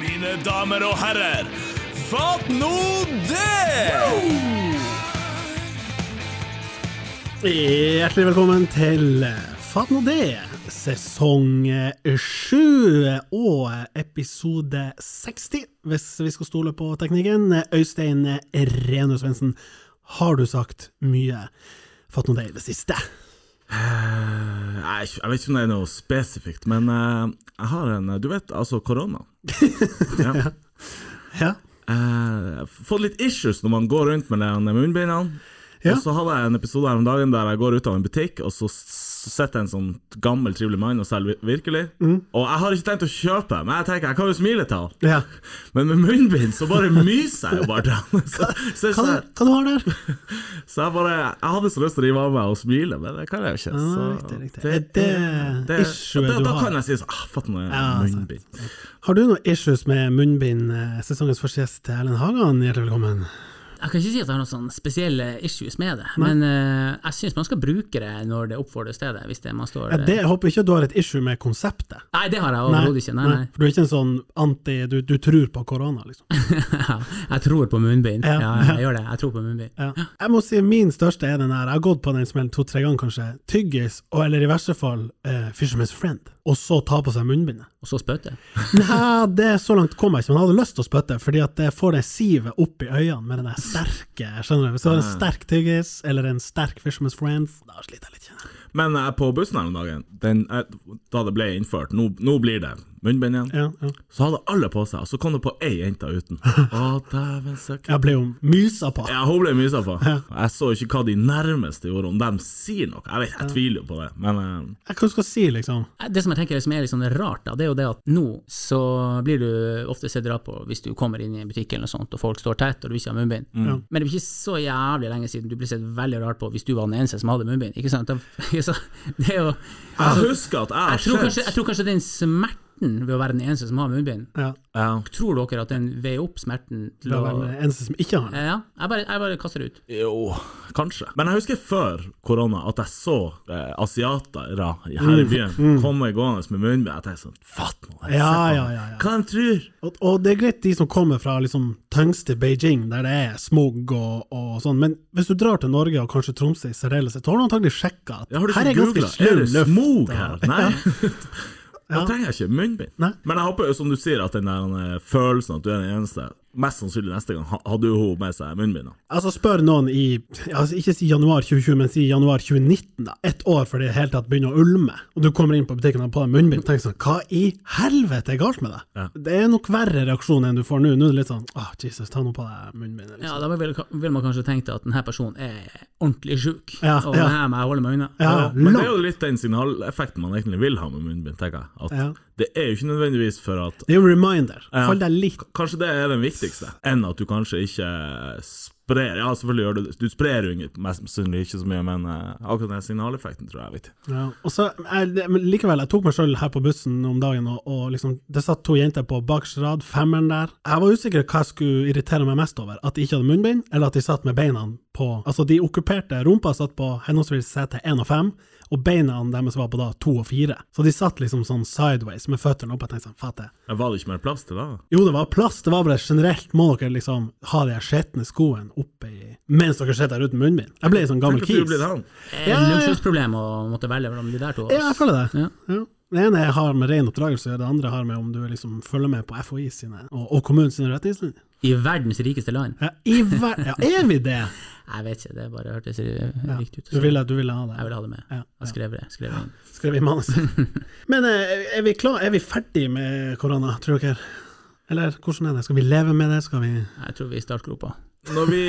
mine damer og herrer. Fatt nå det! Hjertelig velkommen til Fatt nå det, sesong sju og episode 60, hvis vi skal stole på teknikken. Øystein Renu Svendsen, har du sagt mye Fatt nå det i det siste? Nei, Jeg jeg vet ikke om det er noe spesifikt, men eh, jeg har en Du vet, altså korona. ja. Ja. Eh, jeg har fått litt issues når man går rundt med de munnbindene. Ja. Og så hadde jeg en episode her om dagen der jeg går ut av en butikk, og så s- sitter en sånn gammel, trivelig mann og selger vi- virkelig. Mm. Og jeg har ikke tenkt å kjøpe, men jeg tenker jeg kan jo smile til han. ja. Men med munnbind så bare myser jeg jo bare til han. Så, Hva, så, så, hva du har der? så jeg bare Jeg hadde så lyst til å rive av meg og smile, men det kan jeg jo ikke. Så, riktig, riktig. Er det issuet da, du da har? kan jeg si sånn ah, Fatt nå, Ja, sant, munnbind. Har du noen issues med munnbind, eh, sesongens første gjest Erlend Hagan? Hjertelig velkommen. Jeg kan ikke si at jeg har noen sånne spesielle issues med det, men eh, jeg syns man skal bruke det når det oppfordres til det. Hvis det man Eh. står Ja, det, jeg håper ikke at du har et issue med konseptet. Nei, det har jeg overhodet ikke. Nei, nei. For du er ikke en sånn anti Du, du tror på korona, liksom. jeg tror på munnbind. Ja. Ja, jeg gjør det. Jeg tror på munnbind. Ja. Jeg må si min største er den her. Jeg har gått på den smellen to-tre ganger, kanskje. Tyggis, og eller i verste fall eh, Fisherman's Friend. Og så ta på seg munnbindet. Og så spøte. Nei, det er så langt kom jeg ikke, men jeg hadde lyst til å spytte, fordi at det får det sivet opp i øynene med den der sterke Skjønner du? Hvis du Ah. har en sterk tyggis, eller en sterk Fisherman's Friend, da sliter jeg litt. kjenner jeg. Men eh, på bussen her om dagen, den, eh, da det ble innført Nå, nå blir det munnbind igjen. Ja, ja. Så hadde alle på seg, og så kom det på ei jente uten. Å, dæven søkker. Jeg ble jo mysa på. Ja, hun ble mysa på. Jeg så ikke hva de nærmeste gjorde, om de sier noe. Jeg vet, jeg tviler jo på det, men eh, Jeg, hva skal jeg si, liksom? Det som jeg tenker som er litt sånn rart, da, det er jo det at nå så blir du ofte sett rart på hvis du kommer inn i en butikk eller noe sånt, og folk står tett og du ikke har munnbind. Ja. Men det blir ikke så jævlig lenge siden du ble sett veldig rart på hvis du var den eneste som hadde munnbind. Ikke sant? Det, det er jo... jeg husker at jeg har Jeg tror, kanskje, sett- jeg tror kanskje den smerten ved å være den eneste som har munnbind, Ja, ja. tror dere at den veier opp smerten til det å var vel den eneste som ikke har den. Eh, Ja, jeg bare, jeg bare kaster det ut. Jo, kanskje. Men jeg husker før korona at jeg så eh, asiatere i- her i byen komme gående med munnbind. Jeg tenkte sånn Fatt nå! Eh, jeg Ja, ser på ja, dem. ja, ja. Hva de tror? Og, og det er greit de som kommer fra liksom tøngste Beijing, der det er smog og, og sånn, men hvis du drar til Norge og kanskje Tromsø i særdeleshet, så har du antagelig sjekka at Jeg har her ikke er ganske googla. Er slum det luft. smog Ja. her? Nei. Da trenger jeg ikke munnbind. Nei. Men jeg håper jo, som du sier, at den der eh, følelsen at du er den eneste Mest sannsynlig neste gang ha- hadde jo hun med seg munnbind. da. Altså, spør noen i altså, Ikke si januar 2020, men si januar 2019, da. Ett år før det i det hele tatt begynner å ulme, og du kommer inn på butikken og har på deg munnbind og tenker sånn Hva i helvete er galt med deg? Ja. Det er nok verre reaksjon enn du får nå. Nå er det litt sånn Åh, Jesus, ta nå på deg munnbindet, Ja, liksom. Da vil, vil man kanskje tenke at denne personen er ordentlig sjuk, Ja, og ja. det her må jeg holde meg unna. Ja, Ja, men det er langt. jo litt den signaleffekten man egentlig vil ha med munnbind, tenker jeg. At Ja. Det er jo ikke nødvendigvis for at Det er jo en reminder. Ja. Hold deg litt Kanskje det er den viktigste, enn at du kanskje ikke sprer Ja, selvfølgelig gjør du det. Du sprer jo ikke- mest sannsynlig ikke så mye, men eh, akkurat den signaleffekten tror jeg er viktig. Ja, og så, jeg, det- men likevel, jeg tok meg sjøl her på bussen om dagen, og, og liksom, det satt to jenter på bakerste rad, femmeren der. Jeg var usikker hva jeg skulle irritere meg mest over, at de ikke hadde munnbind, eller at de satt med beina på Altså, de okkuperte rumpa satt på henholdsvis sete én og fem, og beina deres var på da to og fire. Så de satt liksom sånn sideways med føttene opp, og jeg tenkte sånn, fatter Men Var det ikke mer plass til det? da? jo, det var plass, det var bare generelt må dere liksom ha de her skjetne skoene oppi mens dere sitter her uten munnbind. Jeg ble en sånn gammel Tenk at du kis. blir han. Det Ja, er et ja. luksusproblem å måtte velge mellom de der to. altså. Ja, jeg føler det. Ja. Ja. Det ene har med ren oppdragelse å gjøre, det andre har med om du liksom følger med på FHI sine, og, og kommunen sine retningslinjer. I verdens rikeste land. Ja, i hver, ja, er vi det? Jeg vet ikke, det bare hørtes ri- Ja. riktig ut. Du ville, du ville ha Jeg det? vil ha det med. Ja, Jeg skrev det. Skrev det inn. Skrev i manuset. Men eh, er vi klar, er vi ferdig med korona, tror dere? Eller hvordan er det? Skal vi leve med det? Skal vi Jeg tror vi er i startgropa. Når vi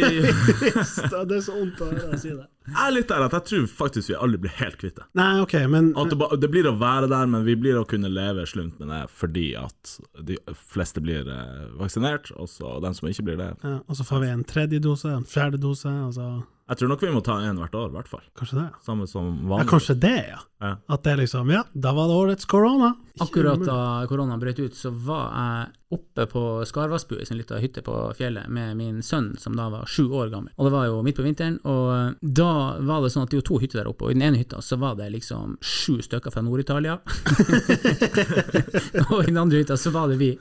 Det er så vondt å høre deg si det. Jeg er litt der at jeg tror faktisk vi aldri blir helt kvitt det. Nei, OK, men At det, ba, det blir å være der, men vi blir å kunne leve slumt med det fordi at de fleste blir eh, vaksinert, og så dem som ikke blir det. ja, Og så får vi en tredje dose, en fjerde dose, og så Jeg tror nok vi må ta en hvert år, i hvert fall. Kanskje det? Samme som Ja, vanlig. kanskje det, Mm. ja. Ja. At det er liksom Ja, da var det årets korona. Ikke Akkurat umulig. da koronaen brøt ut, så var jeg oppe på Skarvassbu, ei lita hytte på fjellet, med min sønn som da var sju år gammel. Og det var jo midt på vinteren, og eh, da var det sånn at det var to hytter der oppe, og i den ene hytta så var det liksom sju stykker fra Nord-Italia. og i den andre hytta så var det vi.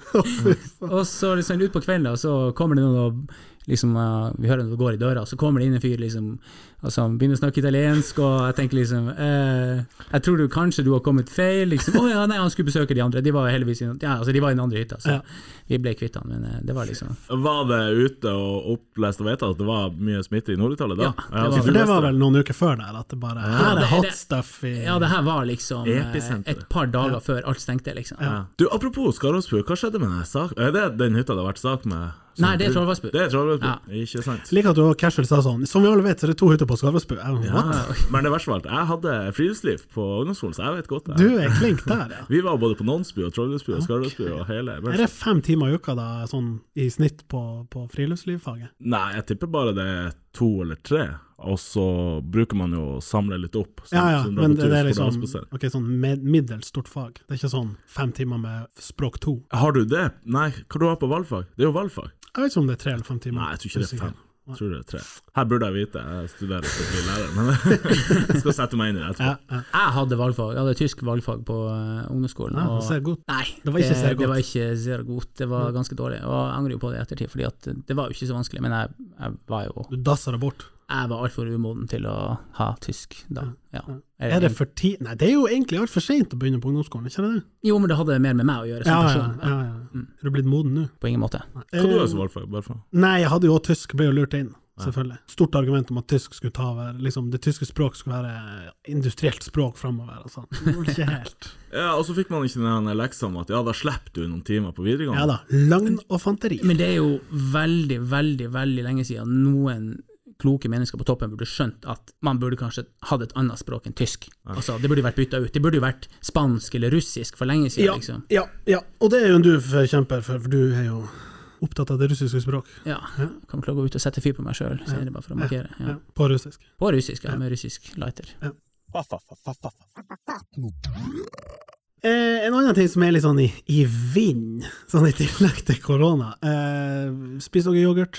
og så liksom ut på kvelden, da, så kommer det noen og liksom, eh, Vi hører når det går i døra, så kommer det inn en fyr liksom, og så han begynner å snakke italiensk, og jeg tenker liksom eh, Jeg tror du kanskje du har kommet feil. liksom, Å ja, nei, han skulle besøke de andre. De var heldigvis i, ja, altså, de var i den andre hytta, så Ja. vi ble kvitt han. Men eh, det var liksom Var det ute og opplest og vedtatt at det var mye smitte i Nord-Italia da? Ja, det så For du det var leste vel noen uker før der, at det bare Her det- er hot det- stuff i Ja, det her var liksom eh, Episenter. et par dager før alt stengte, liksom. Ja. Du, apropos Skarvsbu, hva skjedde med den saken? Er det den hytta det har vært sak med? som Nei, det er du- Trollvassbu. Det er Trollvassbu, Ja. ikke sant? Liker at du og casual sa sånn Som vi alle vet, så er det to hytter på Skarvesbu. Jeg bare, What? Ah, Ja. Men det verste var alt, jeg hadde friluftsliv på ungdomsskolen, så jeg vet godt det. Du er klink der, ja. Vi var både på Nonsbu og Trollvassbu og Skarvsbu og hele Er det fem timer i uka da, sånn i snitt på, på friluftslivfaget? Nei, jeg tipper bare det er to eller tre, og så bruker man jo å samle litt opp. som- Ja ja, som men det, det er dramaturgisk liksom fordagsbasert. Ok, sånn med, middels stort fag. Det er ikke sånn fem timer med språk to. Har du det? Nei, hva du har på valgfag? Det er jo valgfag. Jeg vet ikke om det er tre eller fem timer. Nei, jeg tror ikke det er Usikker. fem. Jeg tror det er tre. Her burde jeg vite, jeg studerer ikke til lærer, men jeg skal sette meg inn i det etterpå. Ja, ja. Jeg hadde valgfag, jeg hadde tysk valgfag på eh, ungdomsskolen. Ja, og- ser godt. Nei, Det var ikke det, ser godt. det var ikke ser godt. Det var ganske dårlig. Og jeg angrer jo på det i ettertid, fordi at det var jo ikke så vanskelig. Men jeg, jeg var jo Du dasser det bort. Jeg var altfor umoden til å ha tysk da. Ja. Er det for ti... Nei, det er jo egentlig altfor seint å begynne på ungdomsskolen, ikke det? Jo, men det hadde mer med meg å gjøre som Ja, ja, person. ja, ja. Er du blitt moden nå? På ingen måte. Hva du har som valgfag? Bare for? Nei, jeg hadde jo også tysk, ble jo lurt inn, selvfølgelig. Stort argument om at tysk skulle ta over, liksom det tyske språk skulle være industrielt språk framover og sånn. Det var Ikke helt. Ja, og så fikk man ikke den her leksa om at ja, da slipper du noen timer på videregående. Ja da, løgn og fanteri. Men det er jo veldig, veldig veldig lenge siden noen kloke mennesker på toppen burde skjønt at man burde kanskje hatt et annet språk enn tysk. Altså, Det burde vært bytta ut. Det burde jo vært spansk eller russisk for lenge siden, Ja, liksom. ja, ja, og det er jo en du forkjemper for, for du er jo opptatt av det russiske språk. Ja. Kan klare å gå ut og sette fyr på meg sjøl, sier jeg det bare for å markere. Ja. Ja, på russisk. På russisk, ja, med russisk lighter. Eh, en annen ting som er litt sånn i, i vind, sånn i tillegg til korona. Eh, spiser dere yoghurt?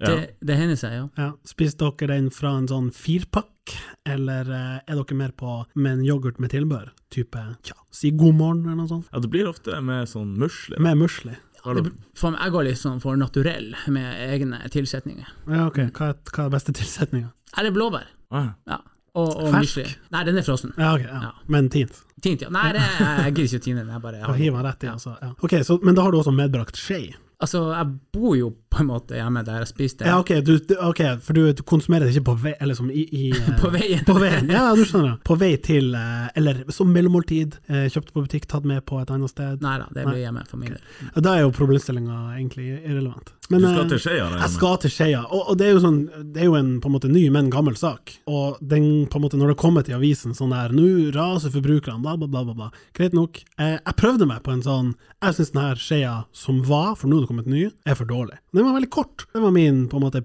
Ja. Det, det hender seg, ja. Ja. Spiser dere den fra en sånn firpakk, eller eh, er dere mer på med en yoghurt med tilbehør? Type tja, si god morgen, eller noe sånt? Ja, det blir ofte med sånn musli. Med musli. Har du- For meg, jeg går litt sånn for naturell med egne tilsetninger. Ja, ok. Hva er, hva er beste tilsetninga? Eller blåbær. Ah, Ja. Og, og Fersk? mysli. Nei, den er frossen. Ja, ok. Ja. Ja. Men tint. Tint, ja. Nei, det, jeg jeg gidder ikke å tine den. Jeg bare Da har den. hiver han rett i, altså. Ja. Ok, så, Men da har du også medbrakt skje? Altså, jeg bor jo på en måte hjemme der jeg spiste Ja, ok, du, du- ok, for du, du konsumerer det ikke på vei Eller som i, i eh, på veien. På veien, ja, du skjønner. På vei til, eh, eller som mellommåltid, eh, kjøpt på butikk, tatt med på et annet sted. Nei da, det blir hjemme for min del. Da er jo problemstillinga egentlig irrelevant. Men, du skal eh, til Skeia, regner Jeg jeg med? skal til Skeia, og, og det er jo sånn Det er jo en på en måte ny, men gammel sak. Og den på en måte når det kommer til avisen sånn der Nå raser forbrukerne, bla, bla, bla, bla, bla. Greit nok. Eh, jeg prøvde meg på en sånn Jeg syns den her Skeia som var, for nå er det kommet ny, er for dårlig. Den var veldig kort. Det var min på en måte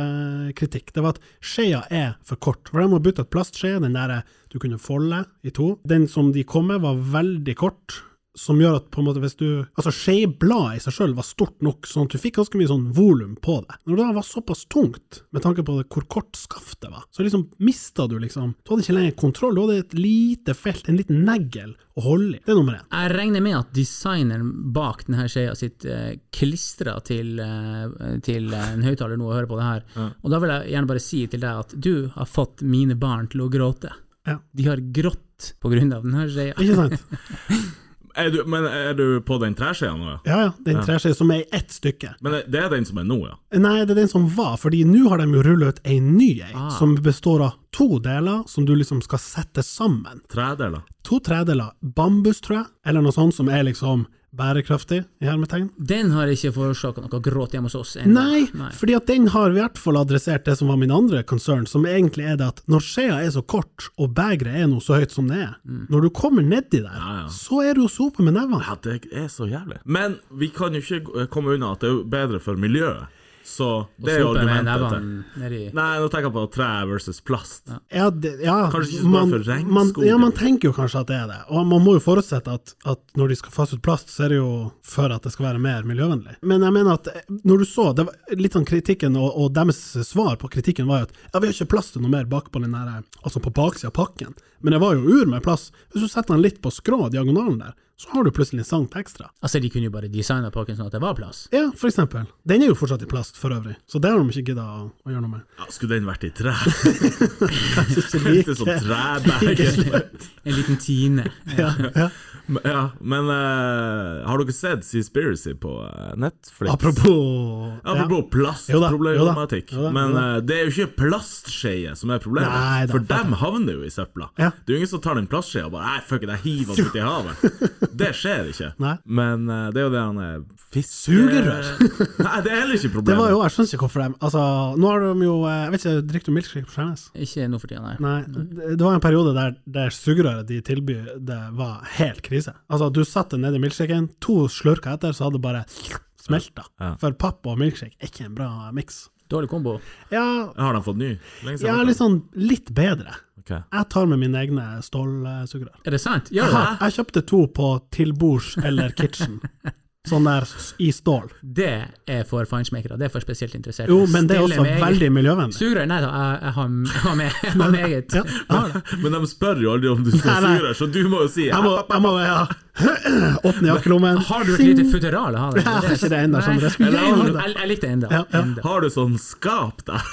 primærkritikk. Det var at Skeia er for kort. For de har bytta ut plastskje, den der du kunne folde i to. Den som de kom med, var veldig kort som gjør at på en måte hvis du Altså, skjebladet i seg sjøl var stort nok, sånn at du fikk ganske mye sånn volum på det. Når det da var såpass tungt, med tanke på det, hvor kort skaftet var, så liksom mista du liksom Du hadde ikke lenger kontroll, du hadde et lite felt, en liten negl, å holde i. Det er nummer én. Jeg regner med at designeren bak denne skjea sitter eh, klistra til, eh, til eh, en høyttaler nå og hører på det her. Og da vil jeg gjerne bare si til deg at du har fått mine barn til å gråte. Ja. De har grått på grunn av denne skjea. Ikke sant? Er du, men er du på den treskeia nå, ja? Ja ja, den treskjea som er i ett stykke. Men det- det er den som er nå, ja? Nei, det er den som var, fordi nå har de jo rullet ut ei ny ei, Ah. som består av to deler som du liksom skal sette sammen. Tredeler? To tredeler bambus, tror jeg, eller noe sånt som er liksom bærekraftig, i hermetegn. Den har ikke forårsaka noe gråt hjemme hos oss ennå. Nei, fordi at den har i hvert fall adressert det som var min andre concern, som egentlig er det at når skjea er så kort, og begeret er nå så høyt som det er, når du kommer nedi der, Ja, ja. så er du jo sope med nevene. eh, Ja, det er så jævlig. Men vi kan jo ikke gå- komme unna at det er jo bedre for miljøet. Så Og det er jo sope med argumentet. til- nevene nedi Nei, nå tenker jeg på tre versus plast. Ja. Ja, det, ja, Kanskje ikke så bra for regnskogen. man, ja, man tenker jo kanskje at det er det, og man må jo forutsette at, at når de skal fase ut plast, så er det jo for at det skal være mer miljøvennlig. Men jeg mener at eh, når du så det var litt sånn kritikken, og, og deres svar på kritikken var jo at ja, vi har ikke plass til noe mer bak på den der, eh, altså på baksida av pakken, men det var jo ur med plass. Hvis du setter den litt på skrå, diagonalen der, så har du plutselig en sang ekstra. Altså, de kunne jo bare designa pakken sånn at det var plass. Ja, for eksempel. Den er jo fortsatt i plast for øvrig, så det har de ikke gidda å, å gjøre noe med. Ja, skulle den vært i tre? Like- Litt sånn trebag. En liten tine. Ja, ja. Ja, men eh, har dere sett Seaspiracy på eh, Netflix? Apropos Apropos Jo da, jo da, plastproblematikk. jo da, jo Men da. eh, det er jo ikke plastskeie som er problemet, Nei da, for fatter. dem havner jo i søpla. Ja. Det er jo ingen som tar den plastskeia og bare Nei, fuck it, jeg hiver den uti havet. Det skjer ikke. Nei. Men eh, det er jo det han er fisk... Sugerør. Nei, det er heller ikke problemet. Det var jo, jeg skjønner ikke hvorfor de Altså, nå har de jo eh, Jeg vet ikke, drikker du milkshake på Skjernes? Ikke nå for tida, nei. Nei, det det var en periode der, der sugerøret de tilbyr, det var helt krise. Altså, du satte nedi milkshaken, to slurker etter, så hadde det bare smelta. Ja. For papp og milkshake er ikke en bra miks. Dårlig kombo. Ja, Har de fått ny? Lenge ja, litt sånn litt bedre. Ok. Jeg tar med mine egne stålsugerør. Er det sant? Ja, Jeg, jeg kjøpte to på Tilbords eller Kitchen. Sånn der s- i stål. det er for feinschmeckere. Det er for spesielt interesserte. Jo, men det er også Stille med eget- veldig miljøvennlig. Sugerør? Nei da, jeg, jeg, har, jeg har med, jeg har med eget. Ja, ja. Men de spør jo aldri om du skal Nei, nei. sugerør, så du må jo si Jeg må, jeg må ja. åpne jakkelommen. Har du et lite futteral? Har du? Jeg har ikke det ennå, Nei, skjønner du. Jeg skulle jeg, gjerne ha det. jeg, jeg likte enda. Ja, ja. enda. Har du sånn skap der?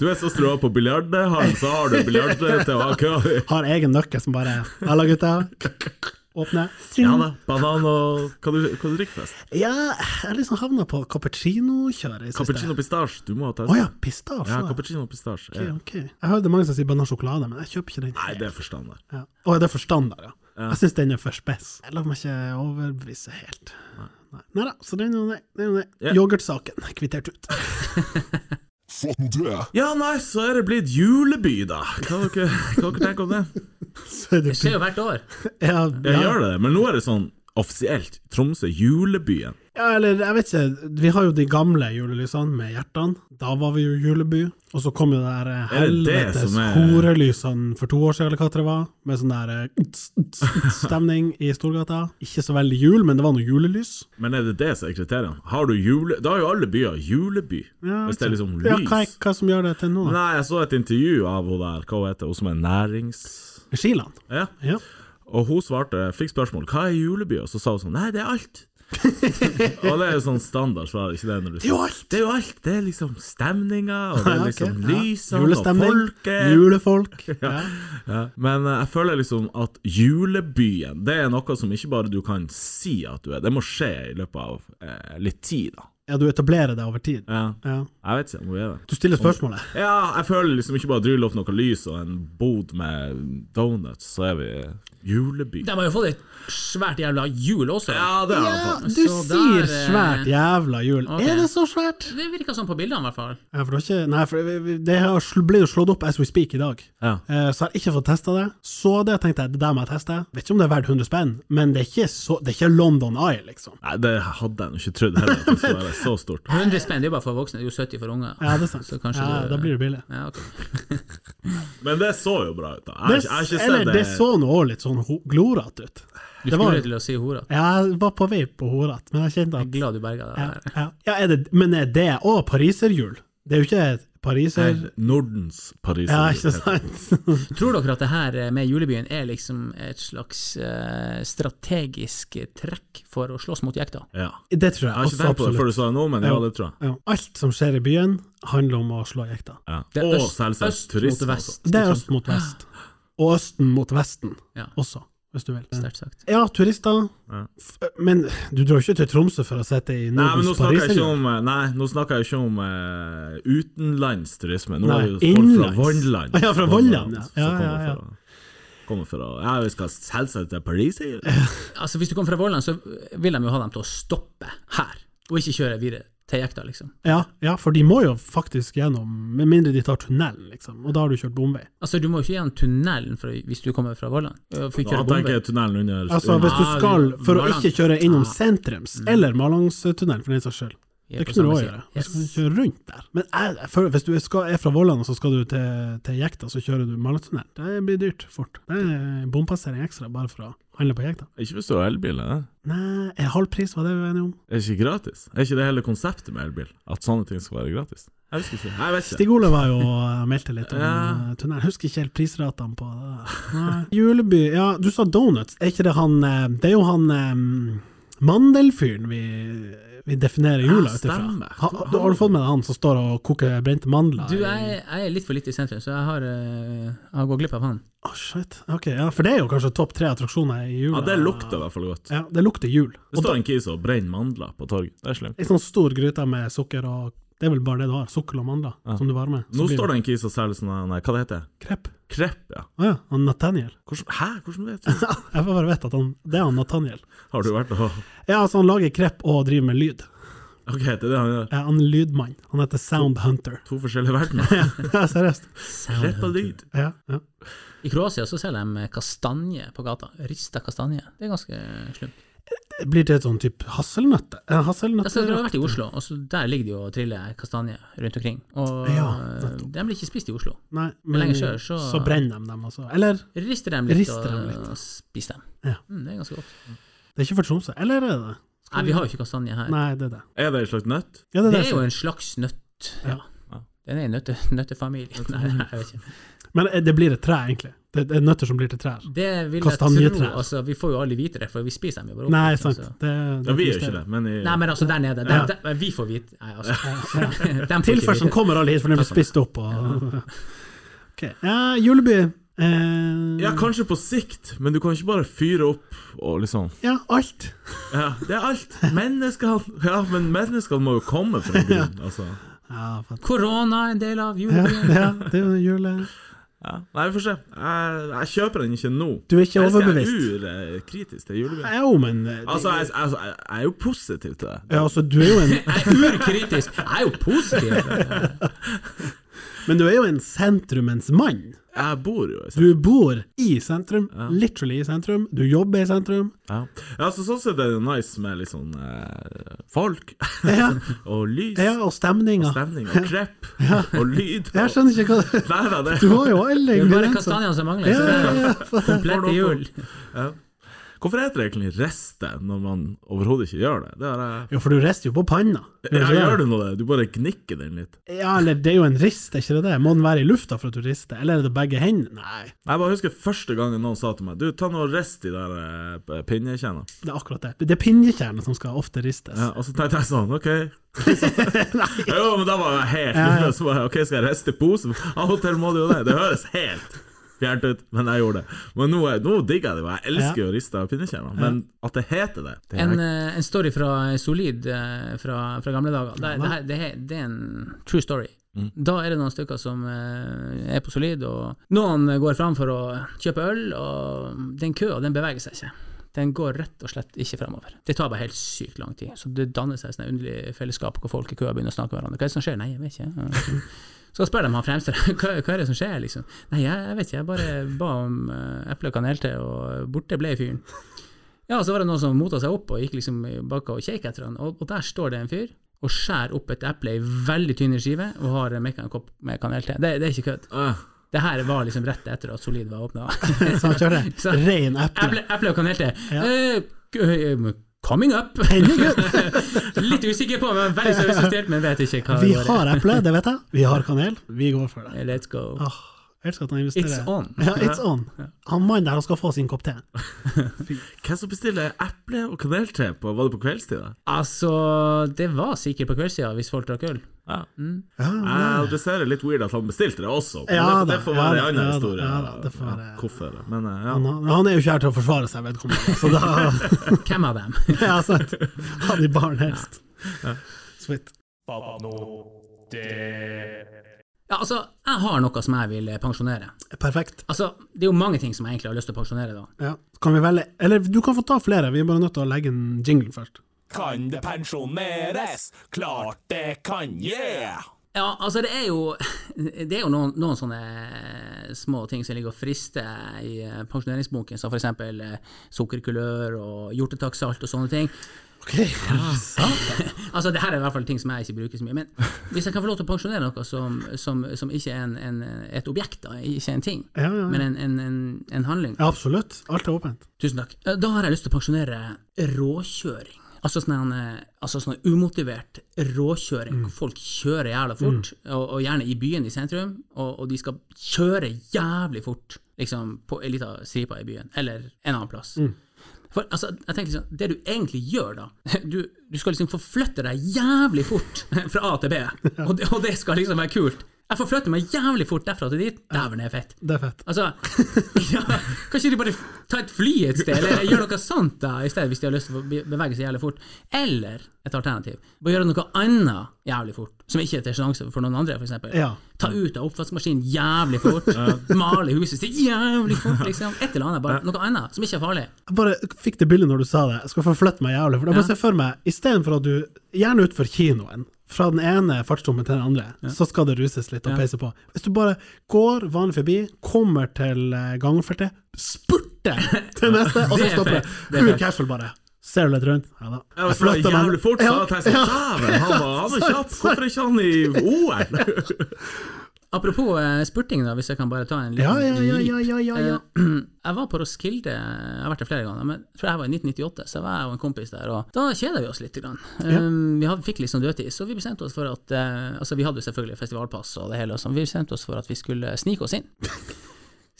Du er så strå på biljardhallen, så har du biljard til å ha kø. Har egen nøkkel som bare Halla, gutta. Åpne. Ja da, banan og Hva du, hva du drikker først? Ja, jeg liksom havna på cappuccino-kjøret i siste. Cappuccino pistasje, du må ha Å teste. ja, pistasje. Ja, da. cappuccino pistasje. Ok, Ja. ok. Jeg hørte mange som sier banansjokolade, men jeg kjøper ikke den. Nei, det er for standard. Ja. Å, er det for standard, ja? Jeg syns den er for spess. Jeg lar meg ikke overbevise helt. Nei Neida, så den er jo det. Den er jo det. Ja. Yoghurtsaken er kvittert ut. Fått noe det. Ja, nei, så er det blitt juleby, da. Hva dere, hva dere tenker om det? Så er det Det skjer jo hvert år. ja, Jeg ja. gjør det, men nå er det sånn offisielt. Tromsø, julebyen. Ja, eller jeg vet ikke. Vi har jo de gamle julelysene med hjertene. Da var vi jo juleby. Og så kom jo det der eh, Er det det helvetes som er- horelysene for to år siden, eller hva det var, med sånn der eh, uts, uts, uts stemning i Storgata. Ikke så veldig jul, men det var noe julelys. Men er det det som er kriteriene? Har du jule... Da er jo alle byer juleby. Ja, Hvis det er vet liksom ikke. Ja, hva, lys. er- hva som gjør det til nå? da? Nei, jeg så et intervju av hun der, hva hun heter hun som er nærings... Skiland? Ja. Ja. Og hun svarte, fikk spørsmål, hva er juleby? Og så sa hun sånn, nei, det er alt. og det er jo sånn standard svar, ikke det? Når du Det er jo alt! Det er jo alt. Det er liksom stemninga, og Ja, det er ok. liksom Ja. lysene og Julestemning, folket. Julefolk. Ja. Ja. Men eh, jeg føler liksom at julebyen, det er noe som ikke bare du kan si at du er. Det må skje i løpet av eh, litt tid, da. ja, du etablerer det over tid. Ja. Ja. Jeg vet ikke om hun er det. Du stiller spørsmålet. Ja, jeg føler liksom ikke bare drylle opp noe lys og en bod med donuts, så er vi juleby. De har jo fått et svært jævla hjul også. Ja, det er i hvert Ja, fall. du Så sier der, eh, svært jævla jul. ok. Er det så svært? Det virker sånn på bildene, i hvert fall. Ja, Eh, for det, var ikke, nei, for det- vi- det har sl- ble jo slått opp as we speak i dag, Ja. Eh, så jeg har ikke fått testa det. Så det tenkte jeg, det der må jeg teste. Vet ikke om det er verdt 100 spenn, men det er ikke, så, det er ikke London Eye, liksom. Nei, det hadde jeg nå ikke trodd heller, at det skulle være så stort. 100 spenn, det er jo bare for voksne. Det er jo 70 for unger. Ja, det er sant. Så kanskje ja, du- Da blir det billig. Ja, ok. Men det så jo bra ut, da. Jeg, har Det, ikke- jeg har ikke eller sett det, så nå også litt sånn ho- glorete ut. Du Det var- skulle jo til å si hora. Ja, Jeg var på vei på Horat, men jeg kjente Jeg er at glad du berga det ja, der. ja. ja, er det, Men er det òg pariserhjul? Det er jo ikke et pariser... Nei, Nordens Paris. Ja, ikke sant? Tror dere at det her eh, med julebyen er liksom et slags eh, strategisk trekk for å slåss mot jekta? Ja. Det tror jeg Jeg har ikke også tenkt på det absolutt. før du sa det nå, men ja, det tror jeg. Ja. Alt som skjer i byen, handler om å slå jekta. Ja. Det er Og øst- selvsagt øst mot turisme. vest. altså. Det er Liksom. øst mot vest. Og østen mot vesten Ja. også, hvis du vil. Sterkt sagt. Ja, turister. Ja. F- Men du drar jo ikke til Tromsø for å sitte i Nei, men Nordens nå snakker jeg Paris? ikke eller? om, eh, nei, nå snakker jeg ikke om eh, utenlandsturisme. Nå Nei, er det jo folk fra innenlands. Vondland. Ah, ja, fra Vondland, ja. som Ja, kommer ja, ja. fra- Kommer fra Ja, vi skal selvsagt til Paris, sier du? Altså, hvis du kommer fra Våland, så vil de jo ha dem til å stoppe her, og ikke kjøre videre til jekta, liksom. Ja, ja, for de må jo faktisk gjennom, med mindre de tar tunnelen, liksom. Og da har du kjørt bomvei. Altså, du må jo ikke gjennom tunnelen for, å- hvis du kommer fra Våland. og får Da tenker kjøre bombe. jeg tunnelen under Altså, hvis du Ah, skal, for å Malang. ikke kjøre innom Ah. Mm. sentrums, eller Malangstunnelen, for den saks skyld, er Det på kunne du samme òg side. gjøre. Og Så kan du Yes. kjøre rundt der. Men jeg, jeg føler- hvis du er, skal, er fra Våland og så skal du til, til Jekta, så kjører du Malatunnel. Det blir dyrt fort. Det er bompassering ekstra bare for å handle på Jekta. Ikke hvis du har elbil. Det. Nei, er halv pris var det vi var enige om? Er ikke gratis? Er ikke det hele konseptet med elbil? At sånne ting skal være gratis? Jeg husker ikke. Jeg vet ikke. Stig Ole var jo og meldte litt om Ja. eh, tunnelen. Husker ikke helt prisratene på det. Nei. Juleby Ja, du sa donuts. Er ikke det han eh, Det er jo han eh, mandelfyren vi, vi definerer jula Ja, ut ifra. stemmer. Ha- ha- Har du fått med deg han som står og koker brente mandler? Du, i- jeg, jeg er litt for lite i sentrum, så jeg har, eh, jeg har gått glipp av han. Å, shit. Ok, ja, for det er jo kanskje topp tre attraksjoner i jula. Ja, det lukter i hvert fall godt. Ja, det lukter jul. Det står en kis og brenner mandler på torget. Det er slemt. Ei sånn stor gryte med sukker og Det er vel bare det du har. Sukker og mandler Ja. som du varmer. Nå står det en kis og selger sånn her- nei, Hva det heter det? Krepp. Krepp, ja. Å ja, han Nathaniel. Hvordan, hæ, hvordan vet du? Jeg bare vet at han Det er han Nathaniel. Har du vært og Ja, altså, han lager krepp og driver med lyd. Ok, det er det han gjør. Ja, han er lydmann. Han heter Sound Hunter. To forskjellige verdener. Ja, seriøst. Krepp og lyd. Ja, ja. I Kroatia så selger de kastanje på gata. Rista kastanje. Det er ganske slumt. Det Blir det et sånn type hasselnøtte? Eh, Hasselnøtte? Altså, du har vært i Oslo, og så der ligger det jo og triller kastanje rundt omkring. Og Ja, eh, nettopp. de blir ikke spist i Oslo. Nei, lenger sør, så- brenner de dem, altså. Eller Rister dem litt Rister dem og, litt. og spiser dem. Ja. Mm, det er ganske godt. Det er ikke for Tromsø. Eller er det det? Nei, vi har jo ikke kastanje her. Nei, det er det. Er det en slags nøtt? Ja, det, det, er det. er jo en slags nøtt. Ja. Ja. Den er en nøtte, nøttefamilie. Nei, jeg vet ikke. Men eh, det blir et tre, egentlig. Det det er nøtter som blir til trær. Det vil jeg tro. Kastanjetrær. Altså, vi får jo aldri vite det, for vi spiser dem jo bare opp. Nei, liksom, sant. så- Det, det et Ja, vi gjør ikke det, mysterium. men i Nei, men altså, der nede. Dem, Ja. dem, vi får vite Nei, altså. Dem får ikke Tilførselen vite. kommer alle hit, for den blir spist opp. Og... Ok. Ja, Juleby. Eh, Ja, kanskje på sikt, men du kan ikke bare fyre opp og liksom ja, alt. Ja, det er alt. Menneskene Ja, men menneskene må jo komme fra byen, altså. Ja, fatt. Korona er en del av ja, Mm. julebyen. ja, det er jo jule... Ja. Nei, vi får se. Jeg, jeg kjøper den ikke nå. Du er ikke overbevist. Jeg er urkritisk til julebyen. Jo, men eh, det- Altså, jeg, altså, jeg, jeg er jo positiv til det. ja, altså, du er jo en, Jeg er urkritisk. Jeg er jo positiv. Men du er jo en sentrumens mann. Jeg bor jo i Du bor i sentrum, literally i sentrum. Du jobber i sentrum. Ja. ja, så sånn sett er det nice med litt sånn eh, folk Ja, og lys ja og stemninga. og stemning og krepp og lyd. Jeg skjønner ikke hva Nei da, det Du har jo alle Det er bare ingredienser. kastanjene som mangler. Ja, Så det ja, er ja. for- komplett i jul. Hvorfor heter det egentlig riste når man overhodet ikke gjør det? det er, eh, Jo, for du rister jo på panna. Gjør ja, du ikke gjør det? du nå det? Du bare gnikker den litt. Ja, eller det er jo en rist, er ikke det det? Må den være i lufta for at du rister? Eller er det begge hendene? Nei, Jeg bare husker første gangen noen sa til meg Du, ta nå og rist de der eh, pinnekjennene. det er akkurat det. Det er pinnekjernen som skal ofte ristes. Ja, og så tenkte jeg sånn, OK. jo, men da var jeg helt Ja, ja. Så bare, OK, skal jeg riste posen? Av og til må du jo det. Det høres helt fjernt ut, men jeg gjorde det. Men nå, er- nå digger jeg det. og Jeg elsker jo rista pinnekjerner. Men at det heter det, det er En, eh, en story fra Solid eh, fra, fra gamle dager. Det, det, her, det, her, det er en true story. Mm. Da er det noen stykker som eh, er på Solid, og noen går fram for å kjøpe øl, og den køen den beveger seg ikke. Den går rett og slett ikke framover. Det tar bare helt sykt lang tid. Så det danner seg et underlig fellesskap hvor folk i køa begynner å snakke med hverandre. Hva er det som skjer? Nei, jeg vet ikke. altså. Så spør de han fremste hva, hva er det som skjer, liksom. Nei, jeg, jeg vet ikke, jeg bare ba om eh, eple og kanelte, og borte ble fyren. Ja, så var det noen som mota seg opp og gikk liksom i baka og kjekk etter han, og, og der står det en fyr og skjærer opp et eple i veldig tynne skiver og har mekka en kopp med kanelte. Det, det er ikke kødd. Ah, Det her var liksom rett etter at Solid var åpna. Så han kjører Sånn, det. Så- Rein eple. eple, eple og kanelte. Ja. Eh, k- eh, coming up! Litt usikker på, men veldig seriøst, men vet ikke hva Vi går i. har eple, det vet jeg. Vi har kanel. Vi går for det. Let's go. Åh, jeg elsker at han investerer. It's on. Ja, it's on. Han mannen der han skal få sin kopp te. Hvem som bestiller eple- og kanelte på Var det på kveldstid? da? Altså, det var sikkert på kveldssida hvis folk drakk øl. Ja. Ja, Jeg adresserer litt weird at han bestilte det også. Men Ja det, da, det får ja være da, en annen ja da, historie. ja da, det får være- Mm. Hvorfor det? Men eh, ja. Han, han er jo ikke her til å forsvare seg, vedkommende. Så da Hvem av dem? Ja, sant. Han i baren helst. Sweet. Fatt nå det. Ja, altså, jeg har noe som jeg vil eh, pensjonere. Perfekt. Altså, det er jo mange ting som jeg egentlig har lyst til å pensjonere, da. Ja. Kan vi velge Eller du kan få ta flere, vi er bare nødt til å legge en jingle først. Kan det pensjoneres? Klart det kan, yeah! Ja, altså, det er jo, det er jo noen, noen sånne eh, små ting som ligger og frister i eh, pensjoneringsbunken, som f.eks. Eh, sukkerkulør og hjortetakksalt og sånne ting. altså, det her er i hvert fall ting som jeg ikke bruker så mye. Men hvis jeg kan få lov til å pensjonere noe som, som, som ikke er en, en, et objekt, da, ikke en ting, Ja, ja, men ja. en, en, en, en handling ja, absolutt. Alt er åpent. Tusen takk. Eh, Da har jeg lyst til å pensjonere råkjøring. Altså sånn, en, eh, altså sånn umotivert råkjøring. hvor Folk kjører jævla fort, og, og gjerne i byen i sentrum, og, og de skal kjøre jævlig fort liksom, på ei lita stripe i byen, eller en annen plass. For altså, jeg tenker liksom, Det du egentlig gjør da, du, du skal liksom forflytte deg jævlig fort fra A til B, og det, og det skal liksom være kult. Jeg forflytter meg jævlig fort derfra til dit. Dæven, det er fett. Det er fett. Altså, ja, kanskje de bare tar et fly et sted, eller gjør noe sånt da, i stedet, hvis de har lyst til å be- bevege seg jævlig fort. Eller et alternativ, bare gjøre noe annet jævlig fort, som ikke er til sjanse for noen andre, for eksempel. Ja. Ta ut av oppvaskmaskinen jævlig fort, male huset sitt jævlig fort, liksom. Et eller annet, bare noe annet, som ikke er farlig. Jeg bare fikk det bildet når du sa det. Jeg skal forflytte meg jævlig. For da Ja. bare se for meg, istedenfor at du Gjerne utfor kinoen. Fra den ene fartsdommen til den andre, så skal det ruses litt og Ja. peise på. Hvis du bare går vanlig forbi, kommer til eh, gangfeltet, spurter til neste, og så Det er stopper det. fett. Det er Ur fett. casual, bare. Ser du litt rundt? Ja da. Jeg Jeg flytter meg. jævlig fort, så jeg tenkte Ja, jeg dæven, han var han var kjapp! Hvorfor er ikke han i OL? Apropos eh, spurting, da, hvis jeg kan bare ta en ja, liten ja, ja, ja, leap. ja, ja, ja. Eh, Jeg var på Roskilde, jeg har vært der flere ganger, men jeg tror jeg var i 1998, så jeg var jeg og en kompis der, og da kjeda vi oss litt. Grann. Um, vi hadde, fikk litt sånn dødtid, så vi bestemte oss for at eh, Altså, vi hadde jo selvfølgelig festivalpass og det hele, og sånn, vi bestemte oss for at vi skulle snike oss inn.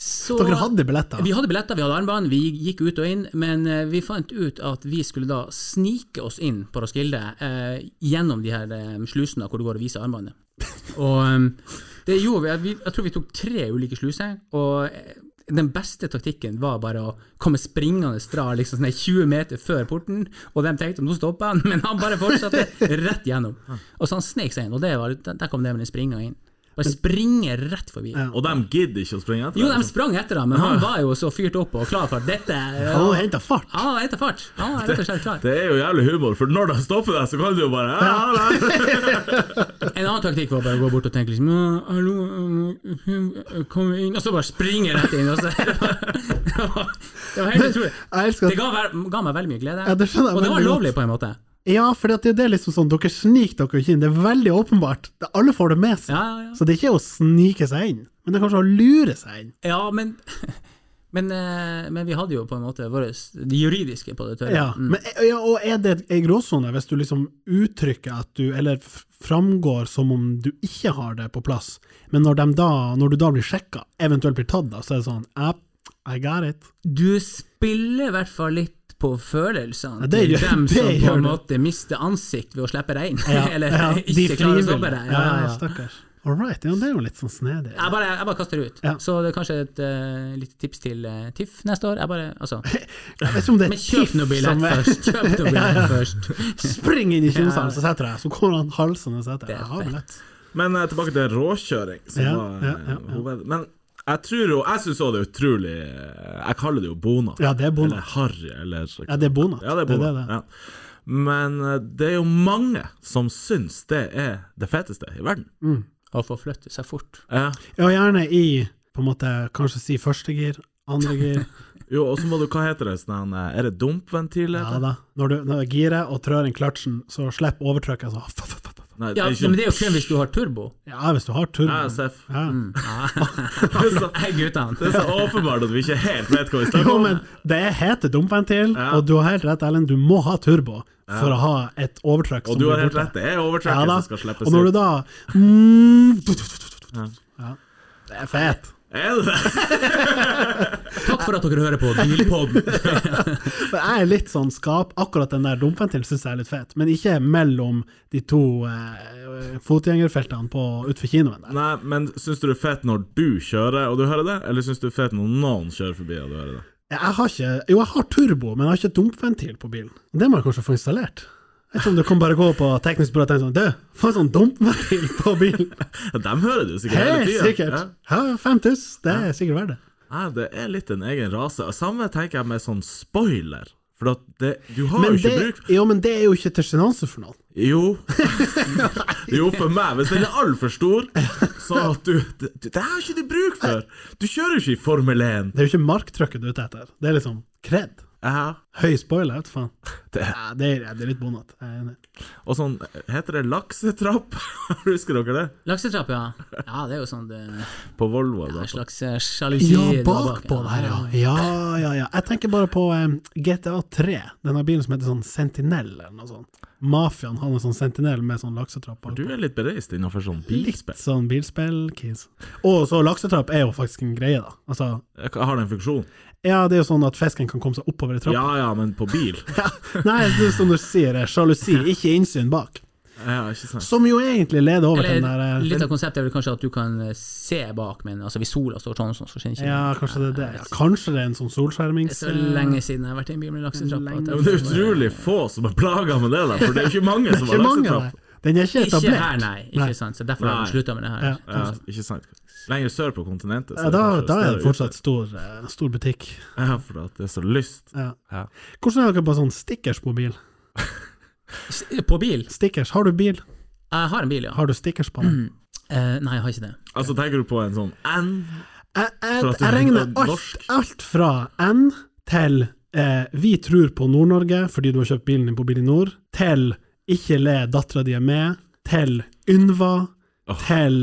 Så- Dere hadde billetter? vi hadde billetter, vi hadde armbånd, vi gikk ut og inn, men eh, vi fant ut at vi skulle da snike oss inn på Roskilde eh, gjennom de her eh, slusene hvor du går og viser armbåndet. Og eh, det gjorde vi, jeg, vi. Jeg tror vi tok tre ulike sluser, og eh, den beste taktikken var bare å komme springende fra liksom sånn her 20 meter før porten, og de tenkte nå stopper han, men han bare fortsatte rett gjennom. Og så han snek seg inn, og det var, der der kom det med den springa inn. Bare springe rett forbi. Og de gidder ikke å springe etter. Jo, de deg, sprang etter ham, men han var jo så fyrt opp og klar for at dette Han Han hadde henta fart. var etter fart. Han var rett og slett liksom. klar. Det er jo jævlig humor, for når de stopper deg, så kan du jo bare ja, ja, ja. En annen taktikk var bare å gå bort og tenke liksom «Ja, Hallo, um, kom inn Og så bare springe rett inn. Og så, det var det var helt utrolig. Jeg elsker Det at ga, ver- ga meg veldig mye glede. Ja, det skjønner jeg og det var veldig godt. lovlig, på en måte. Ja, for det det er liksom sånn, dere sniker dere ikke inn. Det er veldig åpenbart. Det- Alle får det med seg. Ja, ja, ja. Så det er ikke å snike seg inn, men det er kanskje å lure seg inn. ja men, men, eh, men vi hadde jo på en måte våre, det juridiske på det tørre. Ja. Mm. Men, ja, og er det ei gråsone hvis du liksom uttrykker at du, eller f- framgår som om du ikke har det på plass, men når, dem da, når du da blir sjekka, eventuelt blir tatt, da, så er det sånn «Ah, I got it. Du spiller i hvert fall litt på følelsene Ja, det til gjør- dem det som på gjør du. en måte mister ansikt ved å slippe deg inn, Ja, eller ja, de ikke frivillige. klarer å stoppe deg. Ja, ja, stakkars. All right. Ja, det er jo litt sånn snedig. Jeg bare, jeg bare kaster det ut. Ja. Så det er kanskje et eh, lite tips til eh, TIFF neste år. Jeg bare, altså, Jeg vet ikke om det er men kjøp tiff noe billett som er- først! Kjøp noe billett først. Spring inn i Ja. kinosalen, så setter jeg, så kommer han halsende og setter Det jeg. er Jeg har fett. billett. Men eh, tilbake til råkjøring, som Ja, var ja, ja, eh, ja. hoved... Men jeg tror jo, jeg syns òg det er utrolig eh, Jeg kaller det jo bona. Ja, det er bonat. Eller harry, eller Ja, det er bonat. Ja, det er Det er bonat. det, det. Ja. Men eh, det er jo mange som syns det er det feteste i verden. Eh, Å forflytte seg fort. Ja. Ja, gjerne i, på en måte, kanskje si første gir, andre gir. Jo, og så må du, hva heter det, sånn eh, Er det dumpventil? Ja heter det? da. Når du, når du girer og trør inn kløtsjen, så slipper overtrykket sånn. f- f- f- f- Nei, Ja, ikke- men det er jo kun hvis du har turbo. Ja, hvis du har turbo. Ja, altså, mm. Seff. Ja. Det er så- Hei, det guttene! er så åpenbart at vi ikke helt vet hva vi snakker Jo, om. men det er hete dumpventil, Ja. og du har helt rett, Ellen, du må ha turbo for å ha et overtrykk Og som du blir har helt borte. rett, det er overtrekket Ja da. som skal slippes Og når du ut. da mm, ja. Det er fett. Er det det? Takk for at dere hører på Bilpodden. For jeg er litt sånn skap Akkurat den der dumpventilen syns jeg er litt fet, men ikke mellom de to eh, fotgjengerfeltene på utfor kinoen. Der. Nei, men syns du det er fett når du kjører og du hører det, eller syns du det er fett når noen kjører forbi og du hører det? Jeg har ikke Jo, jeg har turbo, men jeg har ikke dumpventil på bilen. Det må jeg kanskje få installert. Jeg vet ikke om du kan bare gå på teknisk byrå og tenke sånn Du, få en sånn dumpventil på bilen! Ja, Dem hører du sikkert hele Helt tida. sikkert! Ja, 5000, det er sikkert verdt det. Ja, det er litt en egen rase. Og Samme tenker jeg med sånn spoiler. For at det, du har Men jo ikke det, bruk jo, men det er jo ikke til sjenanse for noen. Jo. jo, for meg. Hvis den er altfor stor, så at du det, det har ikke du bruk for! Du kjører jo ikke i Formel 1. Det er jo ikke marktrykket du er ute etter. Det er liksom kred. Ja, Høy spoiler, vet du faen. det, Ja, det, er, det er litt bonat. Jeg er enig. og sånn Heter det laksetrapp? Husker dere det? Laksetrapp, ja. Ja, det er jo sånn det, På Volvo. En da. slags eh, sjalusi Ja, der bak, bakpå der, ja. Ja, ja, ja. Jeg tenker bare på eh, GTA 3. Denne bilen som heter sånn Sentinel, eller noe sånt. Mafiaen hadde en sånn Sentinel med sånn laksetrapp. Du er litt bereist innenfor sånn Litt bilspill. sånn bilspill-kis. Og så laksetrapp er jo faktisk en greie, da. Altså, Har det en funksjon? ja, det er jo sånn at fisken kan komme seg oppover i trappa. Ja ja, men på bil? Nei, det er som du sier, eh, sjalusi, ikke innsyn bak. Ja, ikke sant? Som jo egentlig leder over til den der Eller eh, litt av konseptet er vel kanskje at du kan eh, se bak, men altså hvis sola står sånn, sånn så kjenner ikke Ja, kanskje det er det. Ja, kanskje det er en sånn Det er solskjermings... så lenge siden jeg har vært i en bil med laksetrapp. Lenge at Ja, jeg- men det er utrolig få som er plaga med det, da, for det er jo ikke mange som Ikke har mange, laksetrapp. nei. Den er ikke Ikke etablert. her, nei. Ikke Nei. sant? Så derfor har Nei. de slutta med det her. Ja. Ja, ikke sant. Lenger sør på kontinentet. så Ja, da, kanskje da er det større fortsatt stor, eh, stor butikk. utfordring. Ja, for at det er så lyst. Ja. Ja. Hvordan er dere på sånn stickers på bil? S- På bil? Stickers, Har du bil? Jeg har en bil, ja. Har du stickers på den? Eh, nei, jeg har ikke det. Altså, tenker du på en sånn N? Jeg, For jeg, at du jeg regner regner norsk. alt, alt fra N til eh, Vi tror på Nord-Norge fordi du har kjøpt bilen din på Bil i Nord, til Ikke le, dattera di er med, til Ynva, til